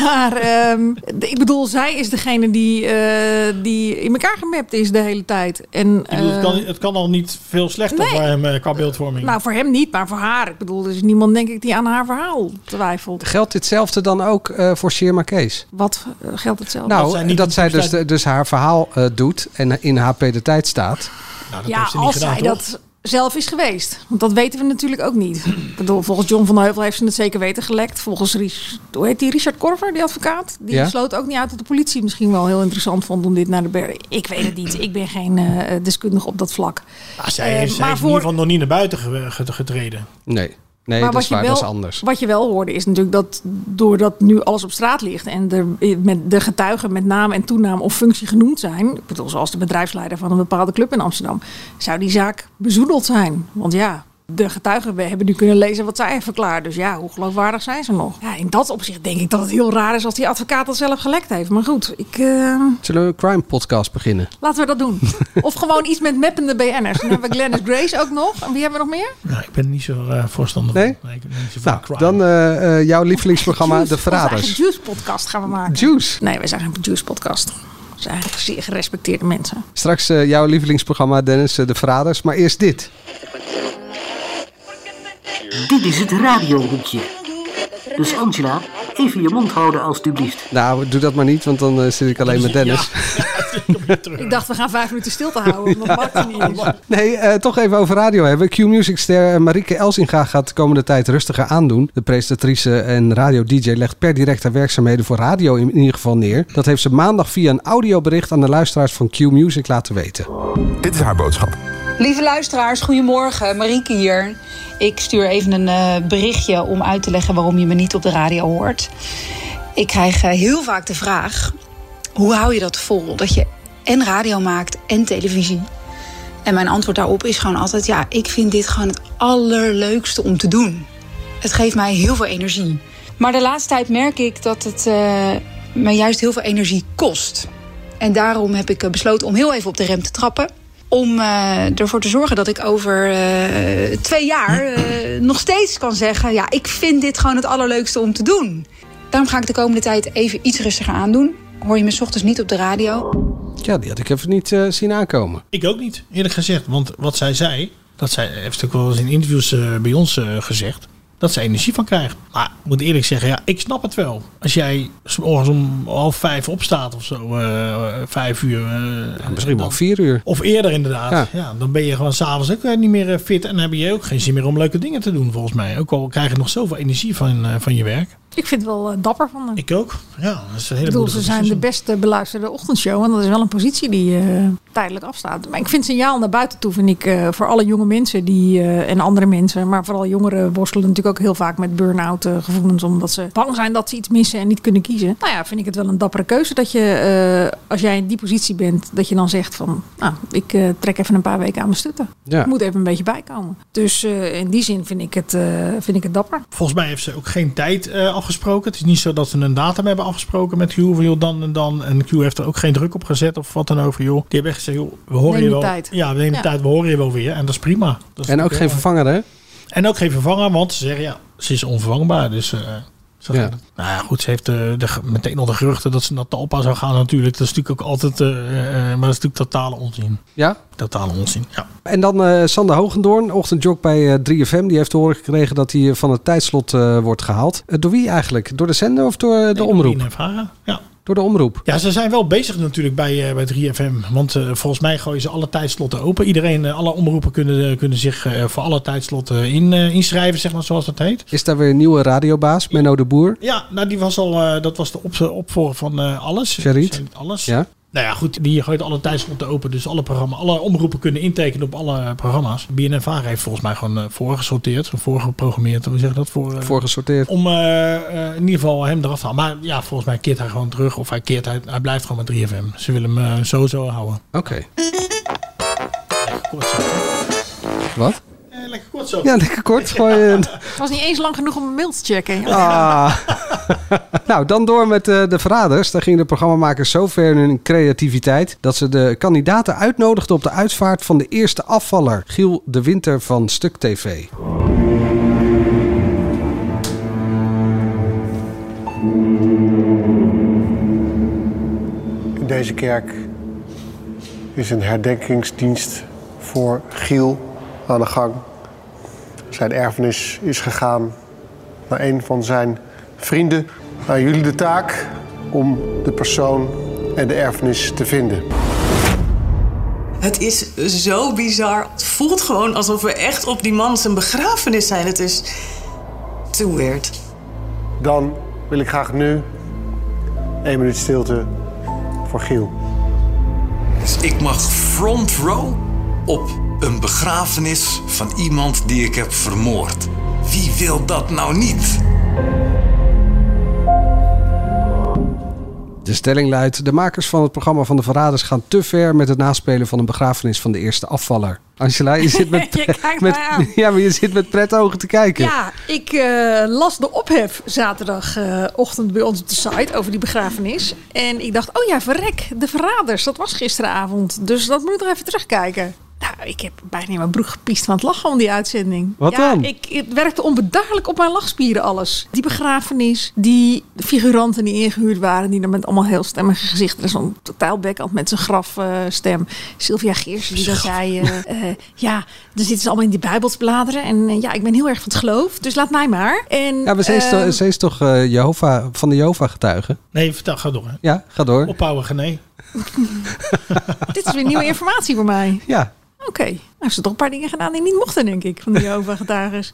Speaker 10: Maar ehm, de- ik bedoel, zij is degene die, eh, die in elkaar gemapt is de hele tijd. En,
Speaker 8: Ik bedoel, het, kan,
Speaker 10: eh,
Speaker 8: het kan al niet veel slechter
Speaker 10: nee.
Speaker 8: voor hem eh, qua beeldvorming.
Speaker 10: nou, voor hem niet, maar voor haar. Ik bedoel, er is niemand denk ik die aan haar verhaal twijfelt.
Speaker 7: Geldt ditzelfde dan ook eh, voor Sirma Kees?
Speaker 10: Wat eh, geldt hetzelfde?
Speaker 7: Nou,
Speaker 8: Dat zij niet
Speaker 7: dat
Speaker 8: op
Speaker 7: zij dus,
Speaker 8: publiciteit-
Speaker 7: de- dus haar verhaal eh, doet en in HP de tijd staat.
Speaker 8: Nou,
Speaker 10: ja, als zij
Speaker 8: toch?
Speaker 10: dat zelf is geweest. Want dat weten we natuurlijk ook niet. Ik bedoel, volgens John van der Heuvel heeft ze het zeker weten gelekt. Volgens Ries- hoe heet die? Richard Korver, die advocaat. Die
Speaker 7: Ja.
Speaker 10: sloot ook niet uit dat de politie misschien wel heel interessant vond om dit naar de berg. Ik weet het niet. Ik ben geen eh, deskundige op dat vlak.
Speaker 8: Nou, zij
Speaker 10: Eh,
Speaker 8: heeft, zij
Speaker 10: maar
Speaker 8: heeft
Speaker 10: voor-
Speaker 8: in ieder geval nog niet naar buiten ge- ge- getreden.
Speaker 7: Nee, nee
Speaker 10: maar
Speaker 7: dat,
Speaker 10: wat
Speaker 7: is
Speaker 10: je,
Speaker 7: waar,
Speaker 10: wel,
Speaker 7: dat is anders.
Speaker 10: wat je wel hoorde is natuurlijk dat doordat nu alles op straat ligt en de, met de getuigen met naam en toenaam of functie genoemd zijn, ik bedoel, zoals de bedrijfsleider van een bepaalde club in Amsterdam, zou die zaak bezoedeld zijn. Want ja, de getuigen we hebben nu kunnen lezen wat zij hebben verklaard. Dus ja, hoe geloofwaardig zijn ze nog? Ja, in dat opzicht denk ik dat het heel raar is als die advocaat dat zelf gelekt heeft. Maar goed, ik, eh,
Speaker 7: Zullen we een crime podcast beginnen?
Speaker 10: laten we dat
Speaker 7: [laughs]
Speaker 10: doen. of gewoon iets met mappende BN'ers. Dan hebben we Glennis Grace ook nog. En wie hebben we nog meer?
Speaker 8: Nou, ik ben niet zo eh, voorstander
Speaker 7: Nee?
Speaker 8: van. ik ben niet zo van
Speaker 7: Nou,
Speaker 8: crime.
Speaker 7: dan eh, eh, jouw lievelingsprogramma
Speaker 10: Juice,
Speaker 7: De Verraders.
Speaker 10: Onze eigen Juice-podcast gaan we maken.
Speaker 7: Juice.
Speaker 10: Nee, wij zijn geen juice-podcast. We zijn eigenlijk zeer gerespecteerde mensen.
Speaker 7: Straks eh, jouw lievelingsprogramma, Dennis, eh, De Verraders. Maar eerst dit.
Speaker 11: Dit is het radiohoekje. Dus Angela, even je mond houden alstublieft.
Speaker 8: [laughs]
Speaker 7: Nou, doe dat maar niet, want dan eh, zit ik alleen met Dennis.
Speaker 10: Ik dacht, we gaan vijf minuten stilte houden. omdat Mark er niet is.
Speaker 7: [laughs] Nee, eh, toch even over radio hebben. Q-Music-ster Marike Elsinga gaat de komende tijd rustiger aandoen. De presentatrice en radio-dj legt per direct haar werkzaamheden voor radio in ieder geval neer. Dat heeft ze maandag via een audiobericht aan de luisteraars van Q-Music laten weten.
Speaker 12: Dit is haar boodschap.
Speaker 1: Lieve luisteraars, goedemorgen. Marieke hier. Ik stuur even een eh, berichtje om uit te leggen waarom je me niet op de radio hoort. Ik krijg eh, heel vaak de vraag: hoe hou je dat vol? Dat je en radio maakt en televisie. En mijn antwoord daarop is gewoon altijd: ja, ik vind dit gewoon het allerleukste om te doen. Het geeft mij heel veel energie. Maar de laatste tijd merk ik dat het eh me juist heel veel energie kost. En daarom heb ik eh, besloten om heel even op de rem te trappen. Om eh, ervoor te zorgen dat ik over eh, twee jaar eh, nog steeds kan zeggen: ja, ik vind dit gewoon het allerleukste om te doen. Daarom ga ik de komende tijd even iets rustiger aandoen. Hoor je me 's ochtends niet op de radio?
Speaker 7: Ja, die had ik even niet eh, zien aankomen.
Speaker 8: Ik ook niet, eerlijk gezegd. Want wat zij zei, dat zij heeft ook wel eens in interviews eh, bij ons eh, gezegd. Dat ze energie van krijgt. Maar ik moet eerlijk zeggen, ja, ik snap het wel. Als jij 's morgens om half vijf opstaat of zo, eh, vijf uur. eh,
Speaker 7: Misschien wel vier uur.
Speaker 8: Of eerder inderdaad.
Speaker 7: Ja.
Speaker 8: Ja. dan ben je gewoon s'avonds ook eh, niet meer eh, fit. En dan heb je ook geen zin meer om leuke dingen te doen, volgens mij. Ook al krijg je nog zoveel energie van, eh, van je werk.
Speaker 10: [laughs] Ik vind het wel eh, dapper van hem.
Speaker 8: Ik ook. Ja, dat is een
Speaker 10: Ik
Speaker 8: hele
Speaker 10: bedoel, ze
Speaker 8: moedige
Speaker 10: zijn de
Speaker 8: beslissing.
Speaker 10: beste beluisterde ochtendshow. En dat is wel een positie die eh, tijdelijk afstaat. Maar ik vind het signaal naar buiten toe, vind ik, eh, voor alle jonge mensen die, eh, en andere mensen. Maar vooral jongeren worstelen natuurlijk ook heel vaak met burn-out eh, gevoelens. Omdat ze bang zijn dat ze iets missen en niet kunnen kiezen. Nou ja, vind ik het wel een dappere keuze dat je, eh, als jij in die positie bent, dat je dan zegt van, nou, ik eh, trek even een paar weken aan mijn stutten.
Speaker 8: Ja.
Speaker 10: Ik moet even een beetje bijkomen. Dus eh, in die zin vind ik het, eh, vind ik het dapper.
Speaker 8: Volgens mij heeft ze ook geen tijd eh, afgesproken. Het is niet zo dat ze een datum hebben afgesproken met Q. Van joh, dan en dan. En Q heeft er ook geen druk op gezet of wat dan ook. Van, joh. Die hebben echt gezegd, joh, we horen
Speaker 10: Neem
Speaker 8: je
Speaker 10: je
Speaker 8: wel.
Speaker 10: tijd.
Speaker 8: Ja, we nemen
Speaker 10: Ja.
Speaker 8: de tijd, we horen je wel weer. En dat is prima. Dat is
Speaker 7: En ook
Speaker 8: natuurlijk
Speaker 7: geen
Speaker 8: heel-
Speaker 7: vervanger, hè?
Speaker 8: En ook geen vervanger, want ze zeggen ja, ze is onvervangbaar. Dus eh, ze
Speaker 7: Ja.
Speaker 8: gaat het. Nou ja, goed, ze heeft eh, de, ge- meteen al de geruchten dat ze naar Talpa zou gaan natuurlijk. Dat is natuurlijk ook altijd, eh, eh, maar dat is natuurlijk totale onzin.
Speaker 7: Ja?
Speaker 8: Totale onzin, ja.
Speaker 7: En dan eh, Sander Hogendoorn, ochtendjog bij eh, 3FM. Die heeft te horen gekregen dat hij eh, van het tijdslot eh, wordt gehaald. Eh, door wie eigenlijk? Door de zender of door eh, de omroep?
Speaker 8: Ervaren, ja.
Speaker 7: Door de omroep.
Speaker 8: Ja, ze zijn wel bezig natuurlijk bij, eh, bij 3FM. Want eh, volgens mij gooien ze alle tijdslotten open. Iedereen, eh, alle omroepen kunnen, eh, kunnen zich eh, voor alle tijdslotten in, eh, inschrijven, zeg maar, zoals dat heet.
Speaker 7: Is daar weer een nieuwe radiobaas, Menno de Boer?
Speaker 8: Ja, nou die was al, eh, dat was de op, opvolger van eh, alles.
Speaker 7: Charit.
Speaker 8: Charit Alles.
Speaker 7: Ja?
Speaker 8: Nou ja, goed, die gooit alle tijdslotten open. Dus alle, programma, alle omroepen kunnen intekenen op alle programma's. BNNVARA heeft volgens mij gewoon eh, voorgesorteerd, voorgeprogrammeerd. Hoe zeg je dat? Voor, eh,
Speaker 7: Voorgesorteerd.
Speaker 8: Om eh, eh, in ieder geval hem eraf te halen. Maar ja, volgens mij keert hij gewoon terug. Of hij keert, hij, hij blijft gewoon met 3FM. Ze willen hem eh, sowieso houden.
Speaker 7: Oké. Wat?
Speaker 8: Eh, lekker kort zo.
Speaker 7: Ja, lekker kort. Gooi je-
Speaker 10: Het was niet eens lang genoeg om een mail te checken.
Speaker 7: Ah. [laughs] nou, dan door met eh, de verraders. Daar gingen de programmamakers zo ver in hun creativiteit... dat ze de kandidaten uitnodigden op de uitvaart van de eerste afvaller... Giel de Winter van Stuk TV.
Speaker 13: In deze kerk is een herdenkingsdienst voor Giel aan de gang. Zijn erfenis is gegaan naar een van zijn vrienden. Aan jullie de taak om de persoon en de erfenis te vinden.
Speaker 14: Het is zo bizar. Het voelt gewoon alsof we echt op die man zijn begrafenis zijn. Het is too weird.
Speaker 13: Dan wil ik graag nu één minuut stilte voor Giel.
Speaker 6: Dus ik mag front row op een begrafenis van iemand die ik heb vermoord. Wie wil dat nou niet?
Speaker 7: De stelling luidt: de makers van het programma van de Verraders gaan te ver met het naspelen van een begrafenis van de eerste afvaller. Angela, je
Speaker 10: [laughs]
Speaker 7: zit met,
Speaker 10: Je kijkt
Speaker 7: met
Speaker 10: mij aan.
Speaker 7: [laughs] ja, maar je zit met pret ogen te kijken.
Speaker 10: Ja, ik eh, las de ophef zaterdagochtend bij ons op de site over die begrafenis. En ik dacht, oh ja, verrek, de verraders, dat was gisteravond. Dus dat moet ik nog even terugkijken. Nou, ik heb bijna in mijn broek gepiest van het lachen om die uitzending.
Speaker 7: Wat
Speaker 10: ja,
Speaker 7: dan?
Speaker 10: Ik, het werkte onbedaarlijk op mijn lachspieren alles. Die begrafenis, die figuranten die ingehuurd waren... die dan met allemaal heel stemmige gezichten... zo'n totaal backhand met zijn grafstem. Sylvia Geersen die dan zei... eh, eh, ja, dan zitten ze allemaal in die bijbelsbladeren. En eh, ja, ik ben heel erg van het geloof, dus laat mij maar. En,
Speaker 7: Ja, maar ze is,
Speaker 10: ehm,
Speaker 7: toch- ze is toch eh, Jehovah, van de Jehovah getuigen?
Speaker 8: Nee, vertel, ga door.
Speaker 7: Ja, ga door.
Speaker 8: Ophouden, Gené.
Speaker 10: Dit is weer nieuwe informatie voor mij.
Speaker 7: Ja.
Speaker 10: Oké, nou heeft ze toch een paar dingen gedaan die niet mochten, denk ik, van die Jehovah-getuigen.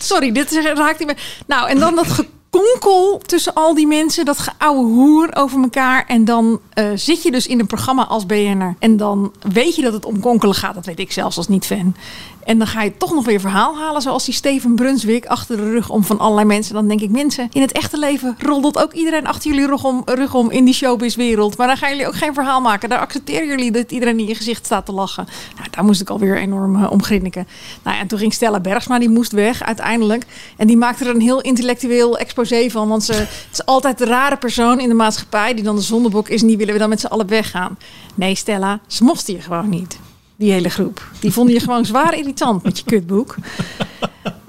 Speaker 10: Sorry, dit is- raakt niet meer. Nou, en dan dat gekonkel tussen al die mensen, dat geouwe hoer over elkaar. En dan eh, zit je dus in een programma als BN'er. En dan weet je dat het om konkelen gaat, dat weet ik zelfs als niet-fan. En dan ga je toch nog weer verhaal halen, zoals die Steven Brunswijk achter de rug om van allerlei mensen. Dan denk ik, mensen, in het echte leven roddelt ook iedereen achter jullie rug om, rug om in die showbiz-wereld. Maar dan gaan jullie ook geen verhaal maken. Daar accepteren jullie dat iedereen in je gezicht staat te lachen. Nou, daar moest ik alweer enorm eh, om grinniken. Nou ja, en toen ging Stella Bergsma, die moest weg uiteindelijk. En die maakte er een heel intellectueel exposé van. Want ze het is altijd de rare persoon in de maatschappij die dan de zondebok is. En die willen we dan met z'n allen weggaan. Nee, Stella, ze mochten je gewoon niet. Die hele groep. Die vonden je gewoon zwaar irritant met je kutboek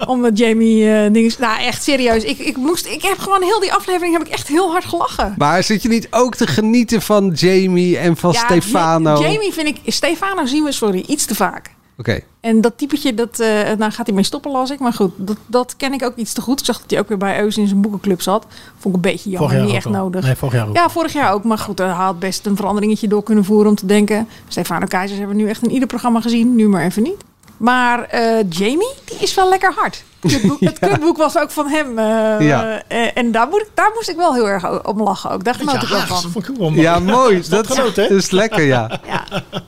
Speaker 10: omdat Jamie eh dingen. Nou, echt serieus. Ik, ik, moest, ik heb gewoon heel die aflevering heb ik echt heel hard gelachen.
Speaker 7: Maar zit je niet ook te genieten van Jamie en van
Speaker 10: Ja,
Speaker 7: Stefano?
Speaker 10: Ja, Jamie vind ik. Stefano zien we, sorry, iets te vaak.
Speaker 7: Oké.
Speaker 10: En dat typetje, dat, eh nou gaat hij mee stoppen, las ik. Maar goed, dat, dat ken ik ook iets te goed. Ik zag dat hij ook weer bij Eus in zijn boekenclub zat. Vond ik een beetje jammer,
Speaker 8: Vorig jaar
Speaker 10: niet
Speaker 8: ook
Speaker 10: echt
Speaker 8: al.
Speaker 10: nodig.
Speaker 8: Nee, vorig jaar ook.
Speaker 10: Ja, vorig jaar ook. Maar goed, hij had best een veranderingetje door kunnen voeren om te denken... Stefano Keizers hebben we nu echt in ieder programma gezien. Nu maar even niet. Maar eh, Jamie, die is wel lekker hard. Het
Speaker 7: [laughs]
Speaker 10: boek, het kutboek was ook van hem. eh,
Speaker 7: Ja.
Speaker 10: eh, en daar, moet ik, daar moest ik wel heel erg o- om lachen ook. Daar genoot ik wel van.
Speaker 7: Ja, mooi. Dat is,
Speaker 8: genoten, hè?
Speaker 7: is lekker, ja.
Speaker 10: [laughs]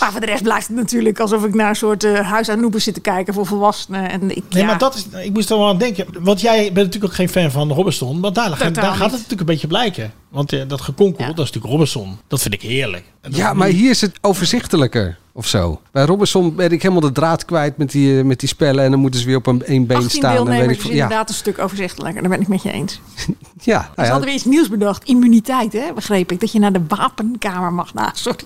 Speaker 10: Maar voor de rest blijft het natuurlijk alsof ik naar een soort eh huis aan noepen zit te kijken voor volwassenen. En ik,
Speaker 8: Nee,
Speaker 10: ja.
Speaker 8: maar dat is, ik moest er wel aan denken. Want jij bent natuurlijk ook geen fan van Robinson. Want daar, daar gaat
Speaker 10: Totaal
Speaker 8: het
Speaker 10: niet.
Speaker 8: natuurlijk een beetje blijken. Want eh, dat gekonkel, dat is natuurlijk Robinson. Dat vind ik heerlijk. En dat-
Speaker 7: Ja, maar hier is het overzichtelijker of zo. Bij Robinson ben ik helemaal de draad kwijt met die, eh, met die spellen. En dan moeten ze weer op een één been
Speaker 10: 18
Speaker 7: staan. en weet
Speaker 10: deelnemers
Speaker 7: ik
Speaker 10: is
Speaker 7: veel- ja,
Speaker 10: inderdaad een stuk overzichtelijker. Daar ben ik met je eens.
Speaker 7: ja,
Speaker 10: Ze
Speaker 7: nou ja.
Speaker 10: hadden weer iets nieuws bedacht. Immuniteit, hè? begreep ik. Dat je naar de wapenkamer mag. Nou, sorry.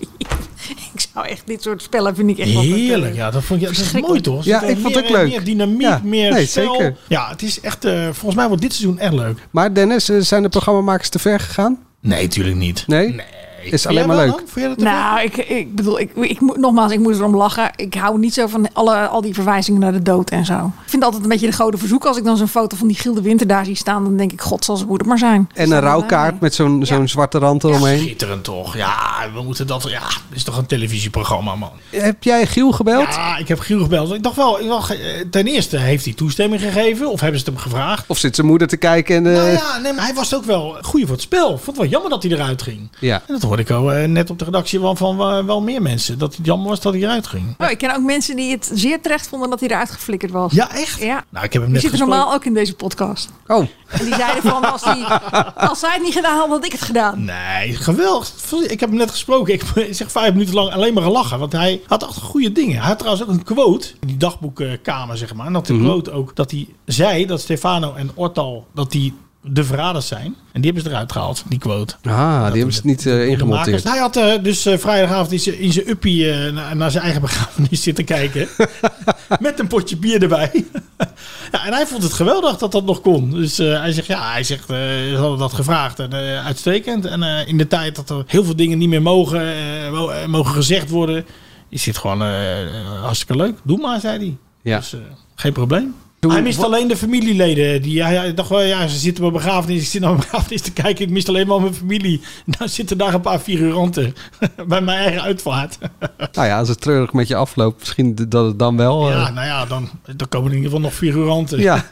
Speaker 10: [laughs] ik zou echt dit soort spellen vind ik echt wel
Speaker 8: Heerlijk, ja. Dat vond je dat is mooi,
Speaker 10: Verschrikkelijk.
Speaker 8: toch?
Speaker 7: Ja,
Speaker 8: Zit er
Speaker 7: ik vond
Speaker 8: meer-
Speaker 7: het leuk.
Speaker 8: Meer dynamiek,
Speaker 7: Ja,
Speaker 8: meer
Speaker 7: nee,
Speaker 8: stijl.
Speaker 7: zeker.
Speaker 8: Ja, het is echt... eh, volgens mij wordt dit seizoen echt leuk.
Speaker 7: Maar Dennis, eh, zijn de programmamakers te ver gegaan?
Speaker 8: Nee, tuurlijk niet.
Speaker 7: Nee? Is alleen maar leuk.
Speaker 10: Nou, ik, ik bedoel, ik, ik, moet- nogmaals, ik moest erom lachen. Ik hou niet zo van alle, al die verwijzingen naar de dood en zo. Ik vind altijd een beetje de gouden verzoek. Als ik dan zo'n foto van die Gilde Winter daar zie staan, dan denk ik, god, zal ze moeder maar zijn.
Speaker 7: En een rouwkaart met zo'n zo'n zwarte rand eromheen.
Speaker 8: Schitterend, toch? Ja, we moeten dat... Ja, dit is toch een televisieprogramma, man.
Speaker 7: Heb jij Giel gebeld?
Speaker 8: Ja, ik heb Giel gebeld. Ik dacht wel, ik dacht, eh, ten eerste heeft hij toestemming gegeven of hebben ze het hem gevraagd?
Speaker 7: Of zit zijn moeder te kijken? En, eh,
Speaker 8: Nou ja, nee, maar hij was ook wel goeie voor het spel. Vond het wel jammer dat hij eruit ging.
Speaker 7: ja.
Speaker 8: En dat hoorde ik al eh, net op de redactie wel van eh, wel meer mensen. Dat het jammer was dat hij eruit ging.
Speaker 10: Oh, ik ken ook mensen die het zeer terecht vonden dat hij eruit geflikkerd was.
Speaker 8: Ja, echt?
Speaker 10: Ja.
Speaker 8: Nou, ik heb hem
Speaker 10: Die
Speaker 8: net
Speaker 10: zitten
Speaker 8: gesproken.
Speaker 10: normaal ook in deze podcast.
Speaker 7: Oh,
Speaker 10: En die zeiden van, als,
Speaker 8: [laughs]
Speaker 10: die, als zij het niet gedaan had, had ik het gedaan.
Speaker 8: Nee, geweldig. Ik heb hem net gesproken. Ik [laughs] zeg vijf minuten lang alleen maar gelachen. Want hij had echt goede dingen. Hij had trouwens ook een quote in die dagboekkamer, zeg maar. En dat de
Speaker 7: Mhm.
Speaker 8: quote ook dat hij zei dat Stefano en Ortal dat die de verraders zijn. En die hebben ze eruit gehaald, die quote.
Speaker 7: Ah, die hebben ze niet eh,
Speaker 8: De makers.
Speaker 7: ingemonteerd.
Speaker 8: Hij had eh, dus eh, vrijdagavond in zijn- in zijn uppie eh, na- naar zijn eigen [laughs] begrafenis zitten
Speaker 7: [laughs]
Speaker 8: kijken. met een potje bier erbij. [laughs] ja, en hij vond het geweldig dat dat nog kon. Dus eh, hij zegt, ja, hij zegt, eh, ze hadden dat gevraagd. En eh, uitstekend. En eh, in de tijd dat er heel veel dingen niet meer mogen, eh, mo- eh, mogen gezegd worden... is dit gewoon eh, eh, hartstikke leuk. Doe maar, zei hij.
Speaker 7: Ja.
Speaker 8: Dus eh, geen probleem. hij mist alleen de familieleden. Die, hij, hij dacht wel, ja, ze zitten bij begrafenis. Ik zit naar mijn begrafenis te kijken. Ik mist alleen maar mijn familie. [laughs] Nou zitten daar een paar figuranten. [laughs] bij mijn eigen uitvaart. [laughs]
Speaker 7: Nou ja, als het treurig met je afloopt, misschien d- dat het dan wel... eh,
Speaker 8: Ja, nou ja, dan, dan komen in ieder geval nog figuranten. [laughs]
Speaker 7: ja.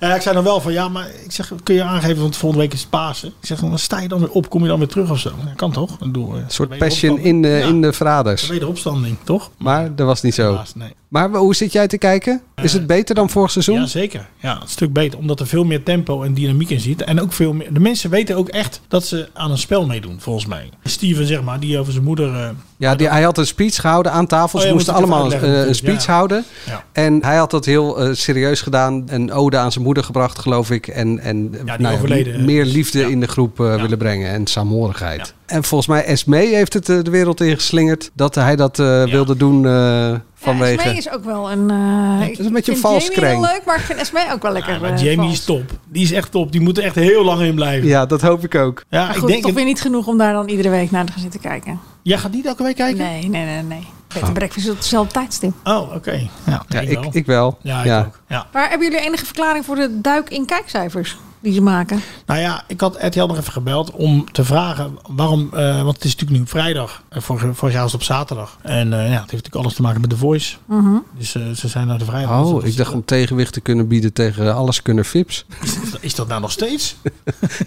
Speaker 8: Ja, ik zei dan wel van, ja, maar ik zeg, kun je aangeven, want volgende week is het Pasen. Ik zeg, dan sta je dan weer op, kom je dan weer terug of zo. Ja, kan toch? Een
Speaker 7: Een soort passion in de, in Oh. de verraders.
Speaker 8: Wederopstanding, toch?
Speaker 7: Maar dat was niet zo.
Speaker 8: Helaas, nee.
Speaker 7: Maar w- hoe zit jij te kijken? Is het beter dan vorig seizoen?
Speaker 8: Eh, Ja, zeker. Ja, een stuk beter. Omdat er veel meer tempo en dynamiek in zit. En ook veel meer... De mensen weten ook echt dat ze aan een spel meedoen, volgens mij. Steven, zeg maar, die over zijn moeder... eh,
Speaker 7: Ja, die, hij had een speech gehouden aan tafel.
Speaker 8: Oh,
Speaker 7: Ze
Speaker 8: ja,
Speaker 7: moesten
Speaker 8: moet ik even
Speaker 7: allemaal
Speaker 8: uitleggen
Speaker 7: eh, een
Speaker 8: natuurlijk,
Speaker 7: speech
Speaker 8: ja.
Speaker 7: houden.
Speaker 8: Ja.
Speaker 7: En hij had dat heel eh, serieus gedaan. Een ode aan zijn moeder gebracht, geloof ik. En, en eh, nou ja,
Speaker 8: overleden, dus-
Speaker 7: m- meer liefde in de groep eh, willen brengen. En saamhorigheid. En volgens mij Esme heeft het eh, de wereld ingeslingerd. Dat hij dat eh, wilde doen eh, vanwege...
Speaker 10: Esme is ook wel een... eh
Speaker 7: het is een beetje
Speaker 10: ik
Speaker 7: een
Speaker 10: vind
Speaker 7: vals
Speaker 10: Jamie heel
Speaker 7: kreng.
Speaker 10: leuk, maar ik vind Esme ook wel lekker
Speaker 8: ja, maar
Speaker 10: eh,
Speaker 8: Jamie
Speaker 10: vals.
Speaker 8: is top. Die is echt top. Die moet er echt heel lang in blijven.
Speaker 7: Ja, dat hoop ik ook.
Speaker 8: Ja,
Speaker 10: Maar
Speaker 8: ik
Speaker 10: goed,
Speaker 8: denk...
Speaker 10: toch
Speaker 8: het-
Speaker 10: weer niet genoeg om daar dan iedere week naar te gaan zitten kijken.
Speaker 8: Jij gaat niet elke week kijken?
Speaker 10: Nee, nee, nee, nee.
Speaker 8: Ah.
Speaker 10: Bed and Breakfast is op hetzelfde tijdstip.
Speaker 8: Oh, oké. Ja,
Speaker 7: Ja,
Speaker 8: ik
Speaker 7: ik,
Speaker 8: wel.
Speaker 7: ik wel.
Speaker 8: Ja, ik ook. Ja.
Speaker 10: Maar hebben jullie enige verklaring voor de duik in kijkcijfers? die ze maken.
Speaker 8: Nou ja, ik had RTL nog even gebeld om te vragen waarom. eh, want het is natuurlijk nu vrijdag. En vorig, vorig jaar was het op zaterdag. En eh, ja, het heeft natuurlijk alles te maken met The Voice.
Speaker 10: Mhm.
Speaker 8: Dus eh, ze zijn naar de vrijdag. Dus
Speaker 7: Oh,
Speaker 8: dat is-
Speaker 7: ik dacht om tegenwicht te kunnen bieden tegen alles kunnen fips. [laughs]
Speaker 8: Is dat nou nog steeds?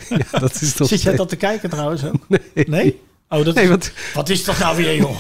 Speaker 7: Ja, dat is toch
Speaker 8: Zit jij
Speaker 7: steeds-
Speaker 8: dat te kijken
Speaker 7: [laughs]
Speaker 8: trouwens? Hè? Nee. Oh, dat is, wat... is dat nou weer,
Speaker 7: [laughs]
Speaker 8: joh?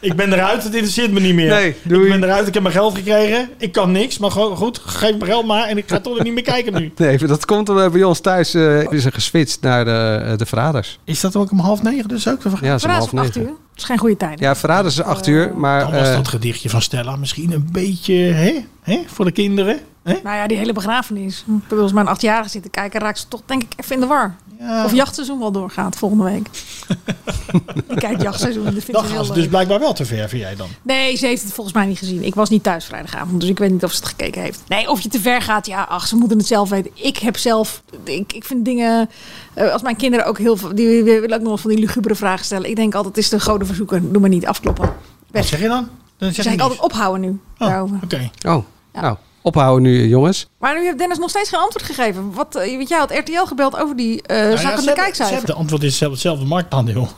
Speaker 8: ik ben eruit, het interesseert me niet meer.
Speaker 7: Nee,
Speaker 8: ik ben eruit, ik heb mijn geld gekregen. Ik kan niks, maar go- goed, geef me geld maar. En ik ga toch er niet meer kijken nu.
Speaker 7: Nee, [laughs] maar dat komt omdat bij ons thuis eh, is er geswitcht naar de, eh, de verraders.
Speaker 8: [laughs] Is dat ook om half negen dus ook? te
Speaker 7: Ja, zo om
Speaker 10: Verraad
Speaker 7: half
Speaker 10: om acht
Speaker 7: negen.
Speaker 10: uur. Dat is geen goede tijd.
Speaker 7: Ja, verraders is acht uur, maar...
Speaker 8: Dan was
Speaker 7: eh,
Speaker 8: dat gedichtje van Stella misschien een beetje hè? Hè? voor de kinderen.
Speaker 10: Nou ja, die hele begrafenis. Ik bedoel, als mijn achtjarige zit te kijken, raakt ze toch denk ik even in de war. Of jachtseizoen wel doorgaat volgende
Speaker 8: [laughs]
Speaker 10: week. ik kijk jachtseizoen, dat vind
Speaker 8: Dat
Speaker 10: ik
Speaker 8: gaan
Speaker 10: heel
Speaker 8: ze
Speaker 10: leuk.
Speaker 8: dus blijkbaar wel te ver, vind jij dan?
Speaker 10: Nee, ze heeft het volgens mij niet gezien. Ik was niet thuis vrijdagavond, dus ik weet niet of ze het gekeken heeft. Nee, of je te ver gaat, ja, ach, ze moeten het zelf weten. Ik heb zelf, ik, ik vind dingen, eh, als mijn kinderen ook heel veel, die willen ook nog wel van die lugubere vragen stellen. Ik denk altijd, het is de goden verzoeken, doe maar niet afkloppen.
Speaker 8: Wat zeg je dan? Dan
Speaker 10: Dus
Speaker 8: zeg je
Speaker 10: ik altijd
Speaker 8: niks.
Speaker 10: ophouden nu daarover.
Speaker 8: Oké.
Speaker 7: Oh, nou, ophouden nu, jongens.
Speaker 10: Maar nu heeft Dennis nog steeds geen antwoord gegeven. Wat, eh, weet jij had RTL gebeld over die eh
Speaker 8: Nou ja,
Speaker 10: zakkende
Speaker 8: ze hebben- ze
Speaker 10: kijkcijfer
Speaker 8: hebben- De antwoord is zelf hetzelfde marktaandeel.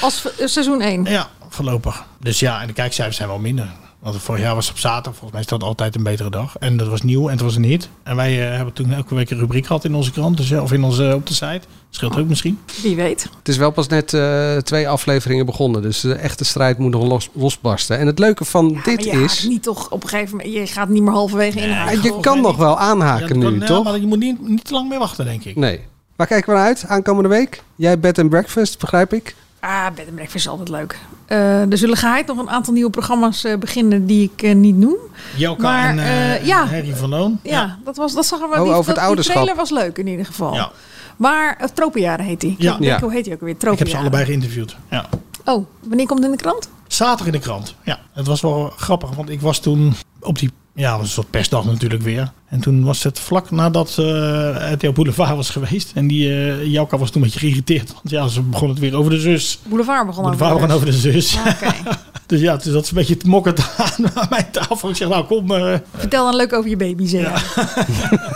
Speaker 10: als eh, seizoen 1.
Speaker 8: Ja, voorlopig. Dus ja, en de kijkcijfers zijn wel minder. Want vorig jaar was het op zaterdag, volgens mij is dat altijd een betere dag. En dat was nieuw en het was een hit. En wij eh, hebben toen elke week een rubriek gehad in onze krant, dus, eh, of in onze, op de site. Scheelt ook misschien.
Speaker 10: Wie weet.
Speaker 7: Het is wel pas net eh, twee afleveringen begonnen, dus de echte strijd moet nog los, losbarsten. En het leuke van dit
Speaker 10: maar je
Speaker 7: is, eh,
Speaker 10: Gaat niet toch op een gegeven moment, je gaat niet meer halverwege inhaken.
Speaker 7: je kan nog wel aanhaken
Speaker 8: Ja, dat
Speaker 7: nu,
Speaker 8: kan- ja,
Speaker 7: toch?
Speaker 8: maar je moet niet, niet te lang meer wachten, denk ik.
Speaker 7: Nee. Waar kijken we naar uit aankomende week? Jij bed and breakfast, begrijp ik?
Speaker 10: Ah, Bed and Breakfast is altijd leuk. Eh, er zullen geheid nog een aantal nieuwe programma's eh, beginnen die ik eh, niet noem.
Speaker 8: Jelka
Speaker 10: Maar,
Speaker 8: en eh,
Speaker 10: eh, ja.
Speaker 8: Harry van Loon.
Speaker 10: Ja, dat, was, dat zag er wel.
Speaker 7: Oh,
Speaker 10: die,
Speaker 7: over het
Speaker 10: dat-
Speaker 7: ouderschap.
Speaker 10: Die trailer was leuk in ieder geval.
Speaker 8: Ja.
Speaker 10: Maar uh, Tropenjaren heet die.
Speaker 8: Ja.
Speaker 10: Ik denk,
Speaker 8: Ja.
Speaker 10: Hoe heet die ook weer?
Speaker 8: Ik heb ze
Speaker 10: Tropenjaren.
Speaker 8: allebei geïnterviewd. Ja.
Speaker 10: Oh, wanneer komt het in de krant?
Speaker 8: Zaterdag in de krant. Ja, het was wel grappig, want ik was toen op die. Ja, dat was een soort persdag natuurlijk weer. En toen was het vlak nadat eh RTL Boulevard was geweest. En die eh Jouka was toen een beetje geïrriteerd. Want ja, ze begon het weer over de zus.
Speaker 10: Boulevard begon
Speaker 8: Boulevard begon over de zus.
Speaker 10: Ja, Ah, oké.
Speaker 8: [laughs] Dus ja, toen zat ze een beetje te mokken aan, [laughs] aan mijn tafel. Ik zeg, nou kom. eh,
Speaker 10: Vertel dan leuk over je baby, zeg. [laughs]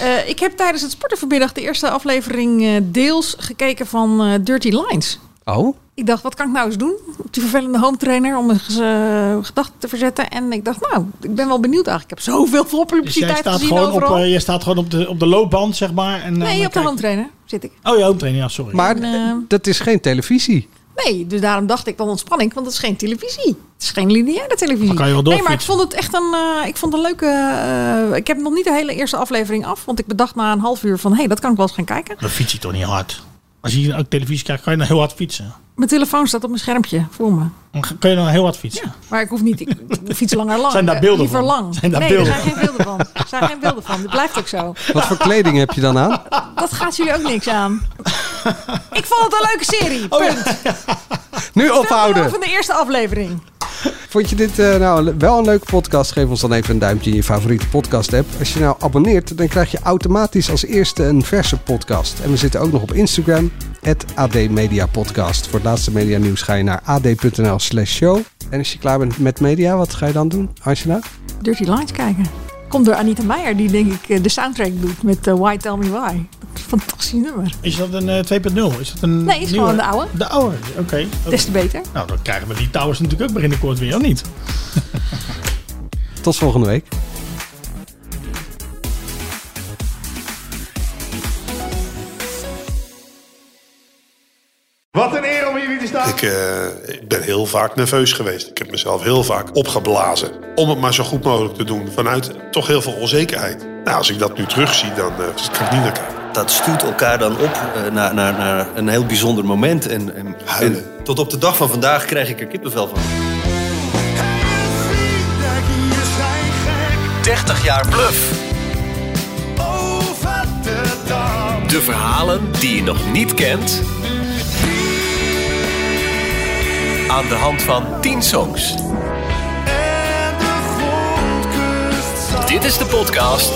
Speaker 10: Eh, ik heb tijdens het sporten vanmiddag de eerste aflevering eh, deels gekeken van eh, Dirty Lines.
Speaker 7: Oh,
Speaker 10: Ik dacht, wat kan ik nou eens doen? Die vervelende home trainer om eens eh, gedachten te verzetten. En ik dacht, nou, ik ben wel benieuwd eigenlijk. Ik heb zoveel
Speaker 8: dus jij
Speaker 10: floppeliciteit
Speaker 8: staat,
Speaker 10: gezien
Speaker 8: gewoon op,
Speaker 10: overal.
Speaker 8: eh, jij staat gewoon op de, op de loopband, zeg maar. En, eh, dan
Speaker 10: nee, op de
Speaker 8: kijk-
Speaker 10: home trainer zit ik.
Speaker 8: Oh, je home trainer, ja, sorry.
Speaker 7: maar
Speaker 10: eh,
Speaker 7: dat is geen televisie.
Speaker 10: Nee, dus daarom dacht ik dan ontspanning, want het is geen televisie. Het is geen lineaire televisie.
Speaker 7: Maar kan je wel
Speaker 10: nee, maar ik
Speaker 7: doorfietsen.
Speaker 10: vond het echt een, eh, ik vond het een leuke. eh, ik heb nog niet de hele eerste aflevering af, want ik bedacht na een half uur van, hé, hey, dat kan ik wel eens gaan kijken.
Speaker 8: Dan fiets je toch niet hard. Als je hier ook televisie kijkt, kan je dan heel hard fietsen.
Speaker 10: Mijn telefoon staat op mijn schermpje voor me.
Speaker 8: Dan ga- kan je dan heel hard fietsen.
Speaker 10: Maar ik hoef niet, ik fiets langer lang.
Speaker 8: Zijn daar
Speaker 10: Eh,
Speaker 8: beelden
Speaker 10: liever
Speaker 8: van?
Speaker 10: lang.
Speaker 8: Zijn daar
Speaker 10: nee,
Speaker 8: beelden
Speaker 10: er zijn geen beelden van. Er zijn geen beelden van. Dat blijft ook zo.
Speaker 7: Wat voor kleding heb je dan aan?
Speaker 10: Dat gaat jullie ook niks aan. Ik vond het een leuke serie. Punt.
Speaker 7: Nu
Speaker 10: Wel
Speaker 7: ophouden!
Speaker 10: Van de eerste aflevering.
Speaker 7: Vond je dit eh, nou wel een leuke podcast? Geef ons dan even een duimpje in je favoriete podcast app. Als je nou abonneert, dan krijg je automatisch als eerste een verse podcast. En we zitten ook nog op Instagram, het AD Media Podcast. Voor het laatste media nieuws ga je naar ad.nl slash show. En als je klaar bent met media, wat ga je dan doen, Angela?
Speaker 10: Dirty Lines kijken. Komt door Anita Meijer, die denk ik eh, de soundtrack doet met eh, Why Tell Me Why. Dat is een fantastisch nummer.
Speaker 8: Is dat een eh, 2.0? Is dat een
Speaker 10: Nee, is
Speaker 8: nieuwe-
Speaker 10: gewoon de oude.
Speaker 8: De oude, oké.
Speaker 10: Des te beter.
Speaker 8: Nou, dan krijgen we die towers natuurlijk ook binnenkort weer, of niet?
Speaker 7: Tot volgende week.
Speaker 12: Wat een eer om hier te staan.
Speaker 15: Ik, eh, ik ben heel vaak nerveus geweest. Ik heb mezelf heel vaak opgeblazen. Om het maar zo goed mogelijk te doen. Vanuit toch heel veel onzekerheid. Nou, als ik dat nu terugzie, dan eh, kan ik niet naar kijken.
Speaker 16: dat stuurt elkaar dan op eh, naar, naar, naar een heel bijzonder moment. En, en, en tot op de dag van vandaag krijg ik er kippenvel van.
Speaker 6: 30 jaar Bluff. De verhalen die je nog niet kent. Aan de hand van 10 songs. Dit is de podcast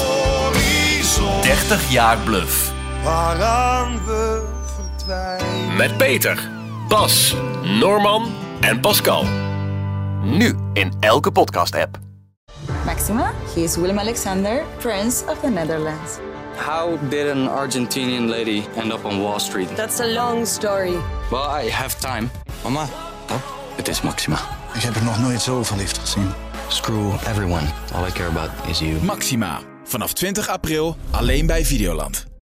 Speaker 6: 30 jaar Bluff.
Speaker 12: Waaraan we verdwijnen.
Speaker 6: Met Peter, Bas, Norman en Pascal. Nu in elke podcast-app.
Speaker 1: Maxima. He is Willem Alexander, Prince of the Netherlands.
Speaker 2: How did an Argentinian lady end up on Wall Street?
Speaker 3: That's a long story.
Speaker 2: Well, I have time. Mama, oh, it is Maxima.
Speaker 17: Ik heb er nog nooit zoveel liefde gezien.
Speaker 2: Screw everyone. All I care about is you.
Speaker 6: Maxima, vanaf 20 april alleen bij Videoland.